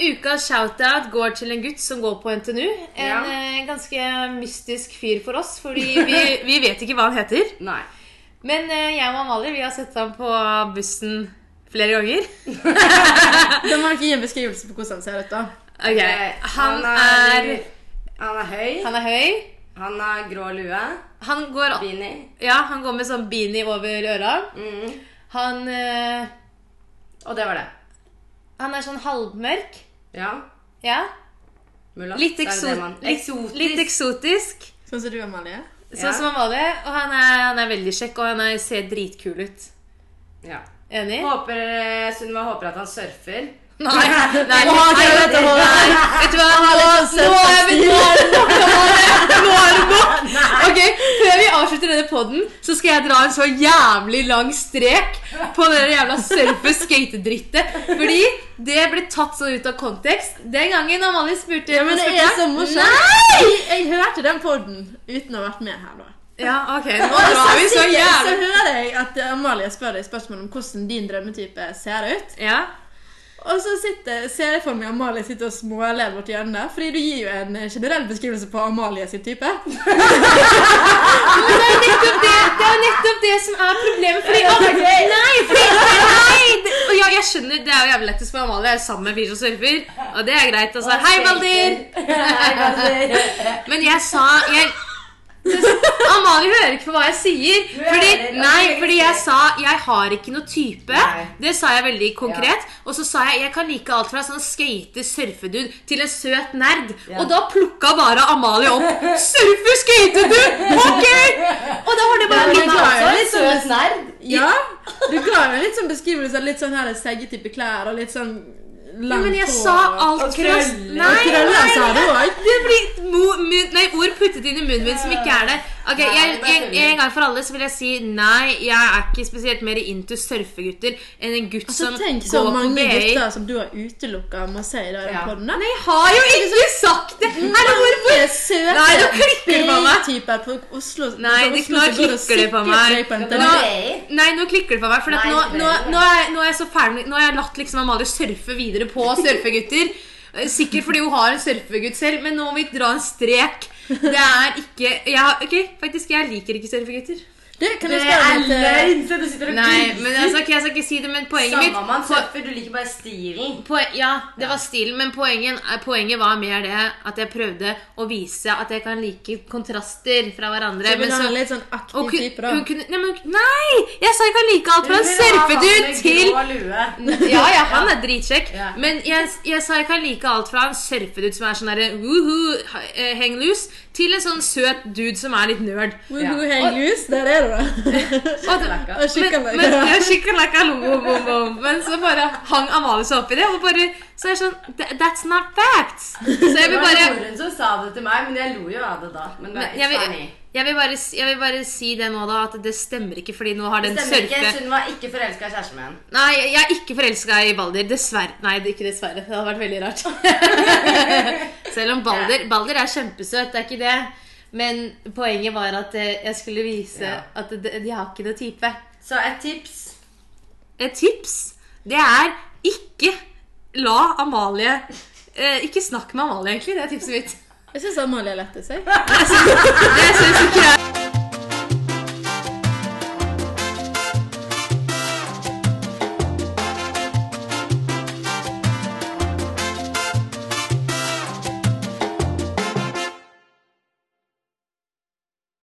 Speaker 1: Ukas shoutout går til en gutt som går på NTNU. En
Speaker 2: Ja.
Speaker 1: eh, ganske mystisk fyr for oss, fordi vi, vi vet ikke hva han heter.
Speaker 2: Nei.
Speaker 1: Men eh, jeg og Amalie vi har sett ham på bussen flere ganger.
Speaker 3: Da må dere gi en beskrivelse på hvordan han ser ut, da.
Speaker 1: Ok, Eh, Han er
Speaker 2: Han er høy.
Speaker 1: Han er høy.
Speaker 2: Han har grå lue.
Speaker 1: Han går,
Speaker 2: Beanie.
Speaker 1: ja, han går med sånn beanie over øra.
Speaker 2: Mm.
Speaker 1: Han, eh,
Speaker 2: Og det var det.
Speaker 1: han er sånn halvmørk.
Speaker 2: Ja.
Speaker 1: Ja.
Speaker 2: Mulla.
Speaker 1: Litt,
Speaker 2: Så er det
Speaker 1: ekso
Speaker 2: det man-
Speaker 1: litt,
Speaker 2: Eksotisk.
Speaker 1: litt eksotisk.
Speaker 3: Sånn som du, Amalie.
Speaker 1: Sånn
Speaker 2: Ja.
Speaker 1: som Amalie. Og han er, han er veldig kjekk, og han er, ser dritkul ut.
Speaker 2: Ja.
Speaker 1: Enig?
Speaker 2: Håper, eh, Sunniva håper at han surfer.
Speaker 1: Nei, nei, nei,
Speaker 3: Nå har jeg dette håret.
Speaker 1: vet du hva? Nå, nå, er vi- nå er det nok, Amalie. Nå er det nok. Ok, Før vi avslutter denne podden, så skal jeg dra en så jævlig lang strek på den jævla surfe-skate-drittet. Fordi det ble tatt så ut av kontekst. Den gangen Amalie spurte
Speaker 3: Ja, men det er så morsomt.
Speaker 1: Nei!
Speaker 3: Jeg hørte den podden uten å ha vært med her, da.
Speaker 1: Ja, ok. Nå
Speaker 3: Og så,
Speaker 1: drar vi så
Speaker 3: sitter- så
Speaker 1: jævlig
Speaker 3: hører jeg at eh, Amalie spør deg spørsmål om hvordan din drømmetype ser ut.
Speaker 1: Ja.
Speaker 3: Og så sitter, ser jeg for meg Amalie sitter og småler borti hjørnet. Fordi du gir jo en eh, generell beskrivelse på Amalie sin type.
Speaker 1: Det er nettopp det, det, er nettopp det som er problemet. Fordi, nei, fordi, nei! det- Og ja, jeg skjønner, det er jo jævlig lettest for Amalie. Jeg er sammen med en fyr som surfer. Og det er greit. Altså. Hei, Balder!
Speaker 2: Hei, Balder.
Speaker 1: Men jeg sa jeg, Amalie hører ikke på hva jeg sier.
Speaker 2: hører,
Speaker 1: Fordi,
Speaker 2: og hun
Speaker 1: nei,
Speaker 2: hører
Speaker 1: fordi
Speaker 2: ikke.
Speaker 1: jeg sa jeg har ikke noe type.
Speaker 2: Nei.
Speaker 1: Det sa jeg veldig konkret. Og så sa jeg jeg kan like alt fra sånn skate surfedude til en søt nerd.
Speaker 2: Ja.
Speaker 1: Og da plukka bare Amalie opp. Surfe, skatedude! Ok! Og da var det bare
Speaker 3: Ja, men
Speaker 1: litt
Speaker 3: da er jeg
Speaker 1: altså.
Speaker 3: litt sånn-
Speaker 2: Søt nerd.
Speaker 3: Ja! Du ga jo en litt sånn beskrivelse av litt sånn her seggetype klær og litt sånn
Speaker 1: Ja,
Speaker 3: langt
Speaker 1: Men jeg
Speaker 3: hår
Speaker 1: sa
Speaker 3: og-
Speaker 1: alt
Speaker 2: Og
Speaker 1: fra
Speaker 2: krøller.
Speaker 1: Nei,
Speaker 3: Og krøller
Speaker 1: nei,
Speaker 3: sa du òg.
Speaker 1: Det blir mo- mun- nei, ord puttet inn i munnen min som ikke er der. Ok,
Speaker 2: Nei,
Speaker 1: jeg,
Speaker 2: det er
Speaker 1: en,
Speaker 2: veldig.
Speaker 1: en gang for alle så vil jeg si nei, jeg er ikke spesielt mer into surfegutter enn en gutt
Speaker 3: Altså,
Speaker 1: som
Speaker 3: tenk så
Speaker 1: går på
Speaker 3: mange
Speaker 1: BI.
Speaker 3: gutter som du har utelukka med å si det i
Speaker 2: Ja.
Speaker 3: podden.
Speaker 1: Nei, jeg har jo ikke sagt det!
Speaker 3: Mm.
Speaker 1: Er det hvorfor? Nei, nå klikker det på meg.
Speaker 3: Typer på Oslo,
Speaker 1: Nei,
Speaker 3: på
Speaker 1: det-
Speaker 3: Oslo
Speaker 1: nå
Speaker 3: som går og
Speaker 1: klikker det på
Speaker 3: sikrer
Speaker 1: meg.
Speaker 3: seg på en
Speaker 2: Nå-
Speaker 3: telefon.
Speaker 2: Nei.
Speaker 1: Nei, nå klikker det for meg. For at
Speaker 2: Nei,
Speaker 1: nå,
Speaker 2: det
Speaker 1: nå,
Speaker 2: gjør det.
Speaker 1: nå, er, nå er jeg så ferdig Nå har jeg latt liksom Amalie surfe videre på surfegutter. Eh, Sikkert fordi hun har en surfegutt selv, men nå må vi dra en strek. Det er ikke ja, Ok, faktisk, jeg liker ikke surfegutter.
Speaker 3: Du, kan jeg
Speaker 2: Det
Speaker 3: spørre eh,
Speaker 2: er
Speaker 3: om et,
Speaker 2: løgn! Se, du sitter og
Speaker 1: Nei,
Speaker 2: gliser.
Speaker 1: men altså, ok, jeg skal ikke si det, men poenget mitt
Speaker 2: Samme om man surfer, du liker bare stilen.
Speaker 1: Poe- ja, det var stilen, men poenget, eh, poenget var mer det at jeg prøvde å vise at jeg kan like kontraster fra hverandre.
Speaker 3: eh, vil
Speaker 1: Men
Speaker 3: du ha
Speaker 1: så,
Speaker 3: en litt sånn aktiv
Speaker 1: og kun,
Speaker 3: type, da?
Speaker 1: hun kunne, nei, men, nei! Jeg sa jeg kan like alt fra en
Speaker 2: Du vil ha
Speaker 1: surfedude
Speaker 2: han med
Speaker 1: til
Speaker 2: grå lue.
Speaker 1: ja, ja, han er dritsjekk.
Speaker 2: Ja.
Speaker 1: Men jeg, jeg sa jeg kan like alt fra en surfedude som er sånn derre woohoo, eh, hang loose, til en sånn søt dude som er litt nerd.
Speaker 3: Woohoo,
Speaker 2: Ja.
Speaker 3: hang loose. Der er du, da.
Speaker 1: Og det,
Speaker 2: Shakalaka.
Speaker 3: Og shakalaka.
Speaker 1: Men, men, ja, shakalaka, lo, bo, bo, bo. men så bare hang Amalie seg opp i det, og bare så er jeg sånn "Th- That's not facts! Så jeg
Speaker 2: Det
Speaker 1: vil
Speaker 2: var
Speaker 1: bare
Speaker 2: moren som sa det til meg, men jeg lo jo av det da. Men det
Speaker 1: men
Speaker 2: er
Speaker 1: jeg vil,
Speaker 2: enig.
Speaker 1: jeg, vil bare, si- jeg vil bare si det nå, da, at det stemmer ikke, fordi nå har
Speaker 2: Det
Speaker 1: den
Speaker 2: stemmer ikke.
Speaker 1: sørpe
Speaker 2: Sunniva er ikke forelska i kjæresten min.
Speaker 1: Nei, jeg er ikke forelska i Balder. Dessverre. Nei, det- ikke dessverre. Det hadde vært veldig rart. Selv om Balder Balder er kjempesøt, det er ikke det. Men poenget var at eh, jeg skulle vise
Speaker 2: Ja.
Speaker 1: at de, de har ikke noe type.
Speaker 2: Så et tips
Speaker 1: Et tips, det er ikke la Amalie eh, Ikke snakk med Amalie, egentlig. Det er tipset mitt.
Speaker 3: Jeg syns Amalie er lett i seg.
Speaker 1: Det syns ikke jeg.